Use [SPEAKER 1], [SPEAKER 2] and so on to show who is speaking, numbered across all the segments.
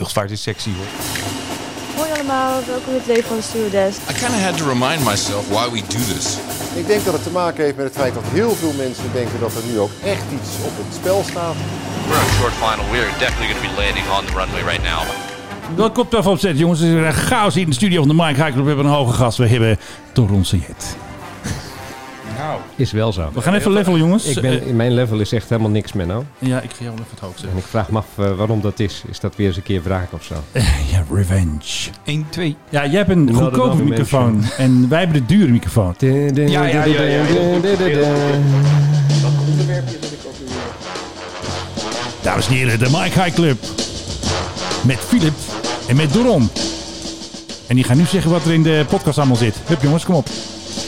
[SPEAKER 1] Luchtvaart is sexy hoor.
[SPEAKER 2] Hoi allemaal, welkom bij het leven van de stewardess.
[SPEAKER 3] I kind of had to remind myself why we do this.
[SPEAKER 4] Ik denk dat het te maken heeft met het feit dat heel veel mensen denken dat er nu ook echt iets op het spel staat.
[SPEAKER 5] We're on short final. We're definitely going to be landing on the runway right now.
[SPEAKER 6] Dat komt even opzetten, jongens. Het is een chaos hier in de studio van de Mike High Club. We hebben een hoge gast. We hebben Toron Jet.
[SPEAKER 7] Is wel zo.
[SPEAKER 6] We gaan even levelen, jongens.
[SPEAKER 7] Ik ben,
[SPEAKER 6] Eh,
[SPEAKER 7] in mijn level is echt helemaal niks, nou. Menno.
[SPEAKER 6] ja, ik ga jou even het hoofd
[SPEAKER 7] En ik vraag me af eh, waarom dat is. Is dat weer eens een keer wraak of zo?
[SPEAKER 6] Ja, revenge.
[SPEAKER 1] 1, 2.
[SPEAKER 6] Ja, jij hebt een
[SPEAKER 7] Another
[SPEAKER 6] goedkope
[SPEAKER 7] dimension.
[SPEAKER 6] microfoon. En wij hebben de dure microfoon.
[SPEAKER 7] Ja,
[SPEAKER 1] ja, ja, ja.
[SPEAKER 6] Dames en heren, de Mike High Club. Met Philip en met Doron. En die gaan nu zeggen wat er in de podcast allemaal zit. Hup jongens, kom op.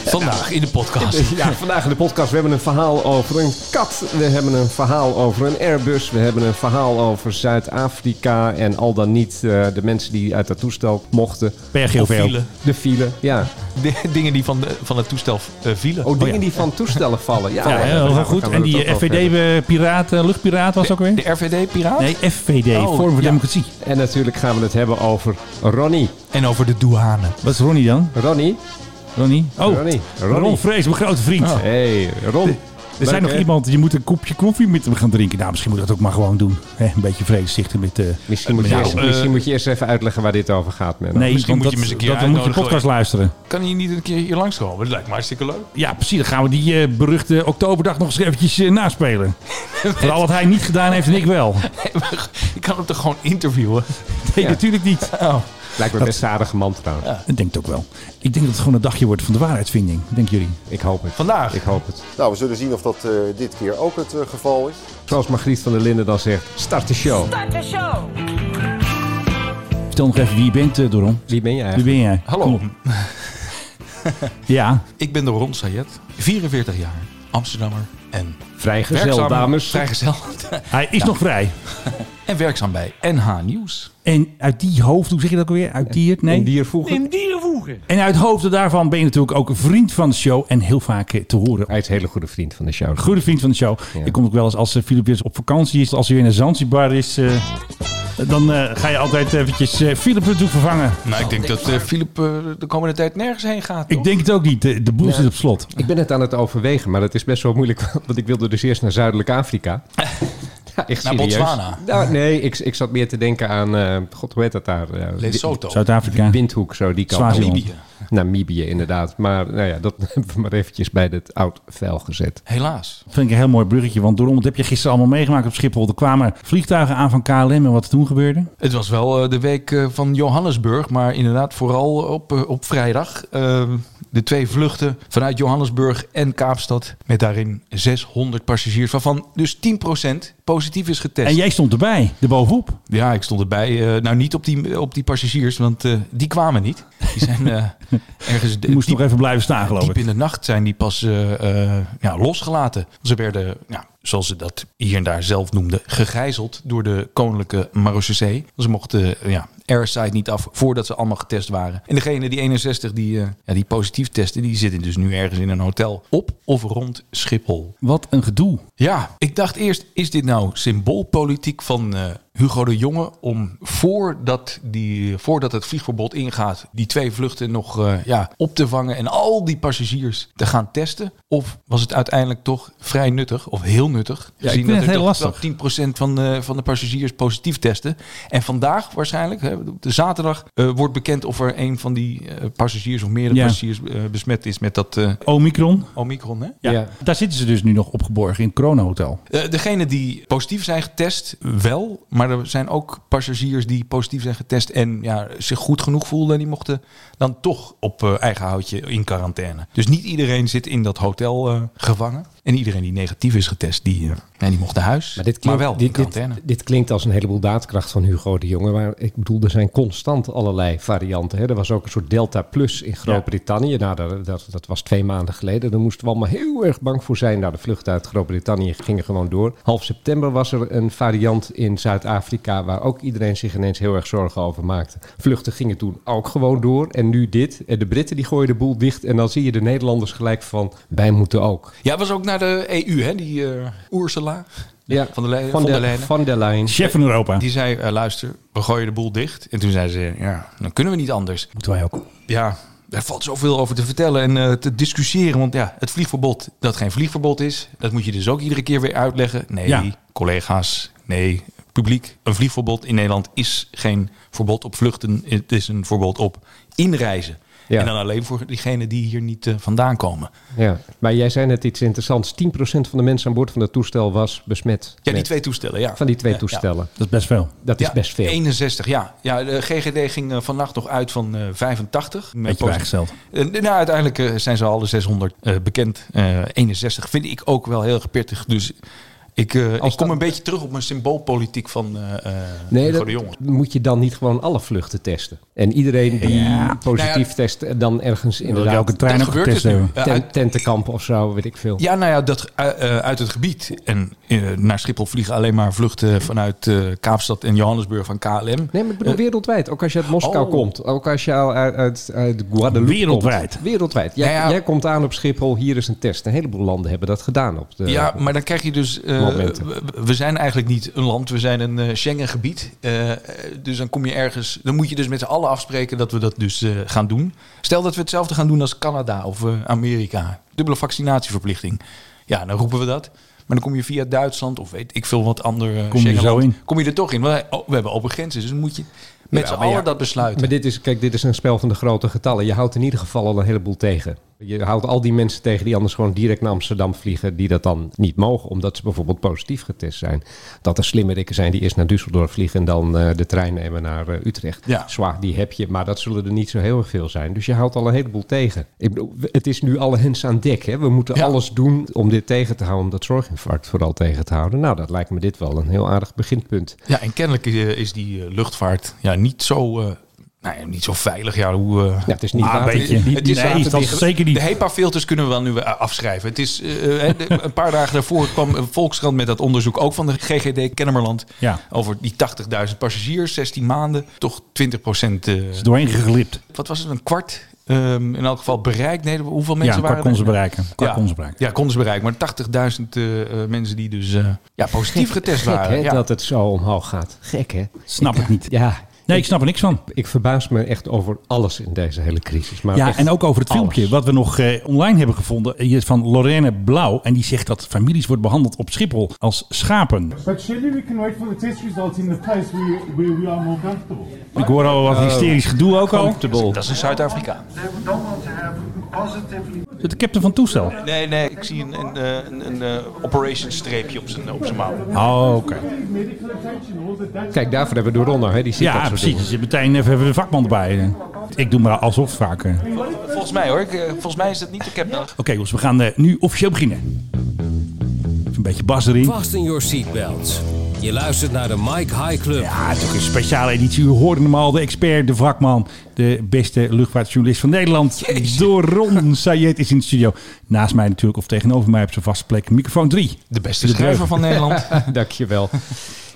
[SPEAKER 1] Vandaag in de podcast.
[SPEAKER 7] Ja, vandaag in de podcast. We hebben een verhaal over een kat. We hebben een verhaal over een Airbus. We hebben een verhaal over Zuid-Afrika. En al dan niet eh, de mensen die uit dat toestel mochten.
[SPEAKER 1] Of
[SPEAKER 6] PRGOV.
[SPEAKER 1] vielen.
[SPEAKER 7] De file. Ja.
[SPEAKER 1] De- dingen die van, de, van het toestel eh, vielen.
[SPEAKER 7] Oh, dingen
[SPEAKER 6] ja.
[SPEAKER 7] die van toestellen vallen. Ja,
[SPEAKER 6] Ja, heel
[SPEAKER 7] Nou,
[SPEAKER 6] goed.
[SPEAKER 7] gaan we
[SPEAKER 6] En
[SPEAKER 7] dat
[SPEAKER 6] die
[SPEAKER 7] ook over hebben.
[SPEAKER 6] FVD-piraat, eh, luchtpiraat was ook weer?
[SPEAKER 1] De RVD-piraat?
[SPEAKER 6] Nee, FVD,
[SPEAKER 1] Oh,
[SPEAKER 6] Forum voor
[SPEAKER 1] ja.
[SPEAKER 6] Democratie.
[SPEAKER 7] En natuurlijk gaan we het hebben over Ronnie.
[SPEAKER 1] En over de douane.
[SPEAKER 6] Wat is Ronnie dan?
[SPEAKER 7] Ronnie?
[SPEAKER 6] Ronnie? Oh,
[SPEAKER 7] Ronnie.
[SPEAKER 6] Ron
[SPEAKER 7] Ronnie.
[SPEAKER 6] Vrees, mijn grote vriend.
[SPEAKER 1] Oh.
[SPEAKER 7] Hey, Ron.
[SPEAKER 6] Er zijn nog iemand, je moet een kopje koffie met hem gaan drinken. Nou, misschien moet ik dat ook maar gewoon doen. Hè, een beetje vreeszichten met... eh,
[SPEAKER 7] Misschien moet, je
[SPEAKER 1] Nou,
[SPEAKER 7] eerst,
[SPEAKER 1] eh,
[SPEAKER 7] misschien moet je eerst even uitleggen waar dit over gaat, Menno.
[SPEAKER 6] nee,
[SPEAKER 1] misschien
[SPEAKER 6] want
[SPEAKER 1] moet je
[SPEAKER 6] dat-
[SPEAKER 1] hem eens een keer
[SPEAKER 6] dat- dan moet je
[SPEAKER 1] uitnodigen.
[SPEAKER 6] podcast luisteren.
[SPEAKER 1] Kan hij niet een keer hier langskomen? Dat lijkt me hartstikke leuk.
[SPEAKER 6] Ja, precies. Dan gaan we die eh, beruchte oktoberdag nog eens eventjes eh, naspelen. Vooral wat hij niet gedaan heeft en ik wel.
[SPEAKER 1] Ik kan hem toch gewoon interviewen?
[SPEAKER 6] Nee,
[SPEAKER 7] Ja.
[SPEAKER 6] natuurlijk niet.
[SPEAKER 7] Lijkt me best een aardige man trouwens.
[SPEAKER 6] Ik denk het ook wel. Ik denk dat het gewoon een dagje wordt van de waarheidsvinding. Denken jullie?
[SPEAKER 7] Ik hoop het.
[SPEAKER 1] Vandaag.
[SPEAKER 7] Ik hoop het.
[SPEAKER 4] Nou, we zullen zien of dat eh, dit keer ook het eh, geval is.
[SPEAKER 7] Zoals Margriet van der Linden dan zegt, start de show.
[SPEAKER 6] Vertel nog even wie je bent, eh, Doron.
[SPEAKER 7] Wie ben je
[SPEAKER 6] Wie
[SPEAKER 7] eigenlijk?
[SPEAKER 6] ben jij? Kom
[SPEAKER 1] Hallo,
[SPEAKER 6] op. Ja,
[SPEAKER 1] ik ben de Ron Sayed, 44 jaar, Amsterdammer en
[SPEAKER 7] Vrijgezel,
[SPEAKER 1] werkzaam,
[SPEAKER 7] dames.
[SPEAKER 1] vrijgezel
[SPEAKER 6] hij is nog vrij.
[SPEAKER 1] en werkzaam bij NH Nieuws.
[SPEAKER 6] En uit die hoofd, hoe zeg je dat ook weer? Uit dier? Nee.
[SPEAKER 7] Een dier voegen.
[SPEAKER 6] En uit hoofden daarvan ben je natuurlijk ook een vriend van de show en heel vaak eh, te horen.
[SPEAKER 7] Hij is een hele goede vriend van de show.
[SPEAKER 6] Goede vriend van de show.
[SPEAKER 7] Ja.
[SPEAKER 6] Ik kom ook wel eens als eh, Filip weer eens op vakantie is, als hij weer naar Zanzibar is, eh, dan eh, ga je altijd eventjes eh, Filip ertoe vervangen.
[SPEAKER 1] Nou, ik denk dat eh Filip eh, de komende tijd nergens heen gaat.
[SPEAKER 6] Ik denk het ook niet. De, de boel zit op slot.
[SPEAKER 7] Ik ben het aan het overwegen, maar dat is best wel moeilijk. Want ik wilde dus eerst naar Zuidelijk Afrika. Ja, echt
[SPEAKER 1] Naar
[SPEAKER 7] serieus.
[SPEAKER 1] Botswana.
[SPEAKER 7] Nou, nee, ik, ik zat meer te denken aan... eh, God, hoe heet dat daar? Eh,
[SPEAKER 1] Lesotho,
[SPEAKER 6] Zuid-Afrika.
[SPEAKER 7] Windhoek, zo die kant.
[SPEAKER 6] Swaziland.
[SPEAKER 1] Libië.
[SPEAKER 7] Namibië, inderdaad. Maar nou ja, dat hebben we maar eventjes bij het oud vuil gezet.
[SPEAKER 1] Helaas.
[SPEAKER 6] Vind ik een heel mooi bruggetje. Want door dat heb je gisteren allemaal meegemaakt op Schiphol. Er kwamen vliegtuigen aan van KLM en wat er toen gebeurde.
[SPEAKER 1] Het was wel eh, de week eh, van Johannesburg, maar inderdaad vooral op, eh, op vrijdag. eh, de twee vluchten vanuit Johannesburg en Kaapstad met daarin 600 passagiers, waarvan dus 10% positief is getest.
[SPEAKER 6] En jij stond erbij, erbovenop.
[SPEAKER 1] Ja, ik stond erbij. eh, nou, niet op die, op die passagiers, want eh, die kwamen niet. Die zijn eh, ergens
[SPEAKER 6] Je moest
[SPEAKER 1] diep,
[SPEAKER 6] nog even blijven staan, geloof
[SPEAKER 1] diep
[SPEAKER 6] ik.
[SPEAKER 1] in de nacht zijn die pas eh, eh, ja, losgelaten. Ze werden, ja, zoals ze dat hier en daar zelf noemden, gegijzeld door de koninklijke Marochisee. Ze mochten eh, ja, airside niet af voordat ze allemaal getest waren. En degene, die 61, die, eh, ja, die positief testen, die zitten dus nu ergens in een hotel op of rond Schiphol.
[SPEAKER 6] Wat een gedoe.
[SPEAKER 1] Ja, ik dacht eerst, is dit nou symboolpolitiek van eh, Hugo de Jonge om voordat, die, voordat het vliegverbod ingaat, die twee vluchten nog eh, ja, op te vangen en al die passagiers te gaan testen? Of was het uiteindelijk toch vrij nuttig of heel nuttig?
[SPEAKER 6] ik vind het heel
[SPEAKER 1] toch wel
[SPEAKER 6] lastig.
[SPEAKER 1] 10% van de, van de passagiers positief testen. En vandaag waarschijnlijk, hè, op de zaterdag, eh, wordt bekend of er een van die eh, passagiers of meerdere
[SPEAKER 6] Ja.
[SPEAKER 1] passagiers eh, besmet is met dat eh,
[SPEAKER 6] Omicron.
[SPEAKER 1] Omicron. Hè?
[SPEAKER 6] Ja.
[SPEAKER 7] Ja.
[SPEAKER 6] Daar zitten ze dus nu nog opgeborgen in het coronahotel.
[SPEAKER 1] Eh, degene die positief zijn getest, wel. Maar er zijn ook passagiers die positief zijn getest en ja, zich goed genoeg voelden. En die mochten dan toch op eh, eigen houtje in quarantaine. Dus niet iedereen zit in dat hotel eh, gevangen. En iedereen die negatief is getest, die, eh, nee, die mocht naar huis. Maar, wel in
[SPEAKER 7] dit, dit,
[SPEAKER 1] quarantaine.
[SPEAKER 7] dit klinkt als een heleboel daadkracht van Hugo de Jonge. Maar ik bedoel, er zijn constant allerlei varianten. Hè. Er was ook een soort Delta Plus in Groot-Brittannië. Nou, dat, dat, dat was twee maanden geleden. Daar moesten we allemaal heel erg bang voor zijn. Nou, de vluchten uit Groot-Brittannië gingen gewoon door. Half september was er een variant in Zuid-Afrika... waar ook iedereen zich ineens heel erg zorgen over maakte. Vluchten gingen toen ook gewoon door. En nu dit. En de Britten die gooien de boel dicht. En dan zie je de Nederlanders gelijk van... wij moeten ook.
[SPEAKER 1] Ja, het was ook na naar de EU, hè? die eh, Ursula
[SPEAKER 7] Ja,
[SPEAKER 1] van der Leyen.
[SPEAKER 7] Van
[SPEAKER 1] von der
[SPEAKER 7] der,
[SPEAKER 1] Leyen.
[SPEAKER 7] van der Leyen.
[SPEAKER 6] Chef van Europa.
[SPEAKER 1] Die zei, eh, luister, we gooien de boel dicht. En toen zei ze, ja, dan kunnen we niet anders.
[SPEAKER 6] Moeten wij ook.
[SPEAKER 1] Ja, er valt zoveel over te vertellen en eh, te discussiëren. Want ja, het vliegverbod, dat geen vliegverbod is, dat moet je dus ook iedere keer weer uitleggen. Nee,
[SPEAKER 6] Ja.
[SPEAKER 1] collega's, nee, publiek. Een vliegverbod in Nederland is geen verbod op vluchten. Het is een verbod op inreizen.
[SPEAKER 7] Ja.
[SPEAKER 1] En dan alleen voor diegenen die hier niet eh, vandaan komen.
[SPEAKER 7] Ja. Maar jij zei net iets interessants. 10% van de mensen aan boord van dat toestel was besmet.
[SPEAKER 1] Ja, die
[SPEAKER 7] met-
[SPEAKER 1] twee toestellen, ja.
[SPEAKER 7] Van die twee
[SPEAKER 1] Ja, ja.
[SPEAKER 7] toestellen.
[SPEAKER 6] Dat is best veel.
[SPEAKER 7] Dat is
[SPEAKER 1] Ja,
[SPEAKER 7] best veel.
[SPEAKER 1] 61, ja. ja. De GGD ging eh, vannacht nog uit van eh 85. Met
[SPEAKER 6] Beetje
[SPEAKER 1] posit-
[SPEAKER 6] bijgesteld.
[SPEAKER 1] Eh, nou, uiteindelijk eh, zijn ze alle 600 eh, bekend. Eh, 61 vind ik ook wel heel erg pittig. Dus ik, eh, ik
[SPEAKER 7] Als
[SPEAKER 1] kom
[SPEAKER 7] dat-
[SPEAKER 1] een beetje terug op mijn symboolpolitiek van eh eh,
[SPEAKER 7] Nee,
[SPEAKER 1] Hugo
[SPEAKER 7] dat
[SPEAKER 1] de Jonge.
[SPEAKER 7] moet je dan niet gewoon alle vluchten testen. En iedereen die positief
[SPEAKER 1] Nou ja,
[SPEAKER 7] test, dan ergens
[SPEAKER 6] Wil ik
[SPEAKER 7] inderdaad
[SPEAKER 6] elke trein
[SPEAKER 1] dat
[SPEAKER 6] ook
[SPEAKER 1] gebeurt
[SPEAKER 6] getest
[SPEAKER 1] dus nu.
[SPEAKER 6] hebben.
[SPEAKER 1] Ja,
[SPEAKER 7] ten-
[SPEAKER 1] uit-
[SPEAKER 7] tentenkamp of zo, weet ik veel.
[SPEAKER 1] Ja, nou ja, dat, eh, eh, uit het gebied. En eh, naar Schiphol vliegen alleen maar vluchten vanuit eh, Kaapstad en Johannesburg van KLM.
[SPEAKER 7] Nee, maar ik bedoel wereldwijd. Ook als je uit Moskou
[SPEAKER 1] Eh. oh.
[SPEAKER 7] komt. Ook als je uit, uit, uit Guadeloupe
[SPEAKER 6] Wereldwijd.
[SPEAKER 7] komt. Wereldwijd. Jij,
[SPEAKER 1] Ja, Nou ja.
[SPEAKER 7] jij komt aan op Schiphol, hier is een test. Een heleboel landen hebben dat gedaan. Op de,
[SPEAKER 1] Ja, maar dan krijg je dus. eh,
[SPEAKER 7] Eh, Momenten.
[SPEAKER 1] we- we zijn eigenlijk niet een land, we zijn een eh, Schengen-gebied. Eh, eh, dus dan kom je ergens. Dan moet je dus met z'n allen afspreken dat we dat dus eh, gaan doen. Stel dat we hetzelfde gaan doen als Canada of eh, Amerika. Dubbele vaccinatieverplichting. Ja, dan roepen we dat. Maar dan kom je via Duitsland of weet ik veel wat andere
[SPEAKER 6] Kom je er zo in?
[SPEAKER 1] Kom je er toch in? Want wij- oh, we hebben open grenzen, dus dan moet je met z'n
[SPEAKER 7] maar ja.
[SPEAKER 1] allen dat besluiten.
[SPEAKER 7] Maar dit is, kijk, dit is een spel van de grote getallen. Je houdt in ieder geval al een heleboel tegen. Je houdt al die mensen tegen die anders gewoon direct naar Amsterdam vliegen, die dat dan niet mogen, omdat ze bijvoorbeeld positief getest zijn. Dat er slimmerikken zijn die eerst naar Düsseldorf vliegen en dan eh, de trein nemen naar eh, Utrecht.
[SPEAKER 1] Ja.
[SPEAKER 7] Zwaar, die heb je, maar dat zullen er niet zo heel erg veel zijn. Dus je houdt al een heleboel tegen. Ik bedoel, we- het is nu alle hens aan dek. Hè? We moeten
[SPEAKER 1] Ja.
[SPEAKER 7] alles doen om dit tegen te houden, om dat zorginfarct vooral tegen te houden. Nou, dat lijkt me dit wel een heel aardig beginpunt.
[SPEAKER 1] Ja, en kennelijk eh, is die eh, luchtvaart ja, niet zo. eh, nou ja, niet zo veilig, ja, hoe... eh,
[SPEAKER 7] Ja, het is niet
[SPEAKER 6] Ah,
[SPEAKER 7] water-
[SPEAKER 6] een beetje.
[SPEAKER 7] niet-
[SPEAKER 6] Het is Nee, dat
[SPEAKER 1] waterdicht.
[SPEAKER 6] zeker niet.
[SPEAKER 1] De HEPA-filters kunnen we wel nu eh, afschrijven. Het is, eh, eh, de- een paar dagen daarvoor kwam eh, Volkskrant met dat onderzoek... ook van de GGD Kennemerland...
[SPEAKER 6] Ja.
[SPEAKER 1] over die 80.000 passagiers, 16 maanden. Toch 20 procent... eh,
[SPEAKER 6] Is er doorheen geglipt.
[SPEAKER 1] wat was het, een kwart? ehm, in elk geval bereikt. Nee, hoeveel
[SPEAKER 6] Ja,
[SPEAKER 1] mensen
[SPEAKER 6] een kwart
[SPEAKER 1] waren
[SPEAKER 6] kon ze
[SPEAKER 1] er?
[SPEAKER 6] bereiken. Een kwart
[SPEAKER 1] ja,
[SPEAKER 6] kon ze bereiken.
[SPEAKER 1] Ja, kon ze bereiken. Maar 80.000 eh, eh, mensen die dus eh, ja, positief getest
[SPEAKER 7] Gek,
[SPEAKER 1] waren.
[SPEAKER 7] hè,
[SPEAKER 1] ja.
[SPEAKER 7] dat het zo omhoog gaat. Gek, hè?
[SPEAKER 6] Snap ik niet.
[SPEAKER 7] Ja,
[SPEAKER 6] Nee, ik
[SPEAKER 7] ik,
[SPEAKER 6] snap er niks van.
[SPEAKER 1] Nou,
[SPEAKER 7] ik verbaas me echt over alles in deze hele crisis. Maar
[SPEAKER 6] Ja,
[SPEAKER 7] echt
[SPEAKER 6] en ook over het
[SPEAKER 7] alles.
[SPEAKER 6] filmpje wat we nog eh, online hebben gevonden. Hier is van Lorraine Blauw. En die zegt dat families wordt behandeld op Schiphol als schapen.
[SPEAKER 8] But surely we can wait for the test results in the place where, where we are more comfortable.
[SPEAKER 6] Ik hoor al
[SPEAKER 1] Oh.
[SPEAKER 6] wat hysterisch gedoe ook al.
[SPEAKER 1] Dat is een Zuid-Afrikaan.
[SPEAKER 6] De captain van het toestel.
[SPEAKER 1] Nee, nee, ik zie een, een, eh, een, een, eh, operation streepje op zijn, op zijn mouw.
[SPEAKER 6] Oh, oké.
[SPEAKER 8] Medical attention, all the data.
[SPEAKER 7] Kijk, daarvoor hebben we Doronno, hè? Die ziet dat
[SPEAKER 6] Ja,
[SPEAKER 7] soort
[SPEAKER 6] precies.
[SPEAKER 7] dingen.
[SPEAKER 6] Dus meteen even hebben we de vakman erbij. Ik doe maar alsof vaker. Oké,
[SPEAKER 1] Volgens mij hoor, Ik, eh, volgens mij is dat niet de captain.
[SPEAKER 6] jongens, we gaan eh, nu officieel beginnen. Even een beetje bas erin.
[SPEAKER 9] Fasten your seatbelts. Je luistert naar de Mike High Club.
[SPEAKER 6] Ja, het is ook een speciale editie. U hoorde hem al, de expert, de vakman, de beste luchtvaartjournalist van Nederland. Doron Sayed is in de studio. Naast mij natuurlijk, of tegenover mij op zijn vaste plek, microfoon 3.
[SPEAKER 1] De beste schrijver van Nederland.
[SPEAKER 7] Dankjewel.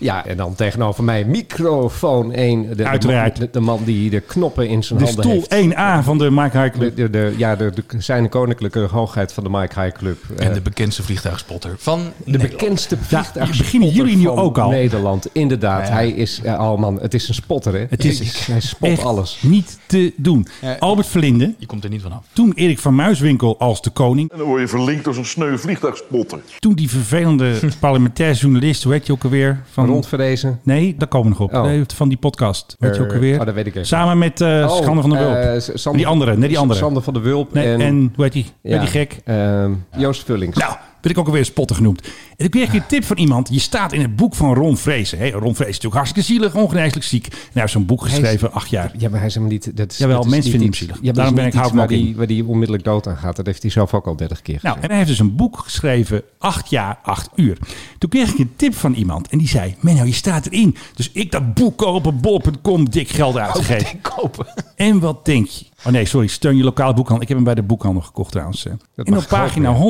[SPEAKER 7] Ja, en dan tegenover mij microfoon 1. De,
[SPEAKER 6] Uiteraard.
[SPEAKER 7] De, de man die de knoppen in zijn
[SPEAKER 6] De
[SPEAKER 7] handen
[SPEAKER 6] stoel
[SPEAKER 7] heeft.
[SPEAKER 6] 1A van de Mike High
[SPEAKER 7] De,
[SPEAKER 6] Club.
[SPEAKER 7] de, de- ja, de, de- zijn koninklijke hoogheid van de Mike High Club. eh,
[SPEAKER 1] En de bekendste vliegtuigspotter van
[SPEAKER 7] de
[SPEAKER 1] Nederland.
[SPEAKER 7] bekendste vliegtuig.
[SPEAKER 6] beginnen jullie nu ook al?
[SPEAKER 7] Nederland, inderdaad. Hij is, eh, oh man, het is een spotter, hè?
[SPEAKER 6] Het is
[SPEAKER 7] hij spot
[SPEAKER 6] echt
[SPEAKER 7] alles.
[SPEAKER 6] niet te doen.
[SPEAKER 1] Ja.
[SPEAKER 6] Albert Verlinde,
[SPEAKER 1] Je komt er niet vanaf.
[SPEAKER 6] toen Erik van Muiswinkel als de koning.
[SPEAKER 10] En dan word je verlinkt als een sneu vliegtuigspotter.
[SPEAKER 6] Toen die vervelende parlementair journalist, hoe heet je ook alweer? Van...
[SPEAKER 7] Rondverrezen.
[SPEAKER 6] Nee, daar komen we nog op.
[SPEAKER 7] Oh.
[SPEAKER 6] Nee, van die podcast. Weet je ook alweer?
[SPEAKER 7] Oh, dat weet ik even.
[SPEAKER 6] Samen met eh
[SPEAKER 7] Oh,
[SPEAKER 6] Sander van der Wulp.
[SPEAKER 7] eh, S- Sander-
[SPEAKER 6] die andere, nee, die andere.
[SPEAKER 7] Sander van der Wulp
[SPEAKER 6] nee, en,
[SPEAKER 7] en,
[SPEAKER 6] hoe heet die?
[SPEAKER 7] ja,
[SPEAKER 6] Ben die gek?
[SPEAKER 7] ehm, Joost Vullings.
[SPEAKER 6] Nou, werd ik ook alweer spotter genoemd. En ik kreeg ik een tip van iemand. Je staat in het boek van Ron Vrezen. Hè? Ron Vrezen is natuurlijk hartstikke zielig, ongeneeslijk ziek. En hij heeft zo'n boek
[SPEAKER 7] is-
[SPEAKER 6] geschreven, acht jaar.
[SPEAKER 7] Ja, maar hij is helemaal niet... Dat is,
[SPEAKER 6] Jawel,
[SPEAKER 7] dat is
[SPEAKER 6] mensen
[SPEAKER 7] niet
[SPEAKER 6] vinden
[SPEAKER 7] iets-
[SPEAKER 6] hem zielig.
[SPEAKER 7] Ja, maar
[SPEAKER 6] Daarom
[SPEAKER 7] dat
[SPEAKER 6] ben ik
[SPEAKER 7] is niet
[SPEAKER 6] hout
[SPEAKER 7] iets
[SPEAKER 6] maar
[SPEAKER 7] waar die, waar die onmiddellijk dood aan gaat. Dat heeft hij zelf ook al dertig keer
[SPEAKER 6] Nou,
[SPEAKER 7] gezegd.
[SPEAKER 6] en hij heeft dus een boek geschreven, acht jaar, acht uur. Toen kreeg ik een tip van iemand en die zei, Menno, je staat erin. Dus ik dat boek kopen, bol.com, dik geld uitgegeven.
[SPEAKER 1] kopen.
[SPEAKER 6] En wat denk je? Oh nee, sorry, steun je lokale boekhandel. Ik heb hem bij de boekhandel gekocht trouwens. hè. En
[SPEAKER 7] mag
[SPEAKER 6] op pagina
[SPEAKER 7] ook, ja.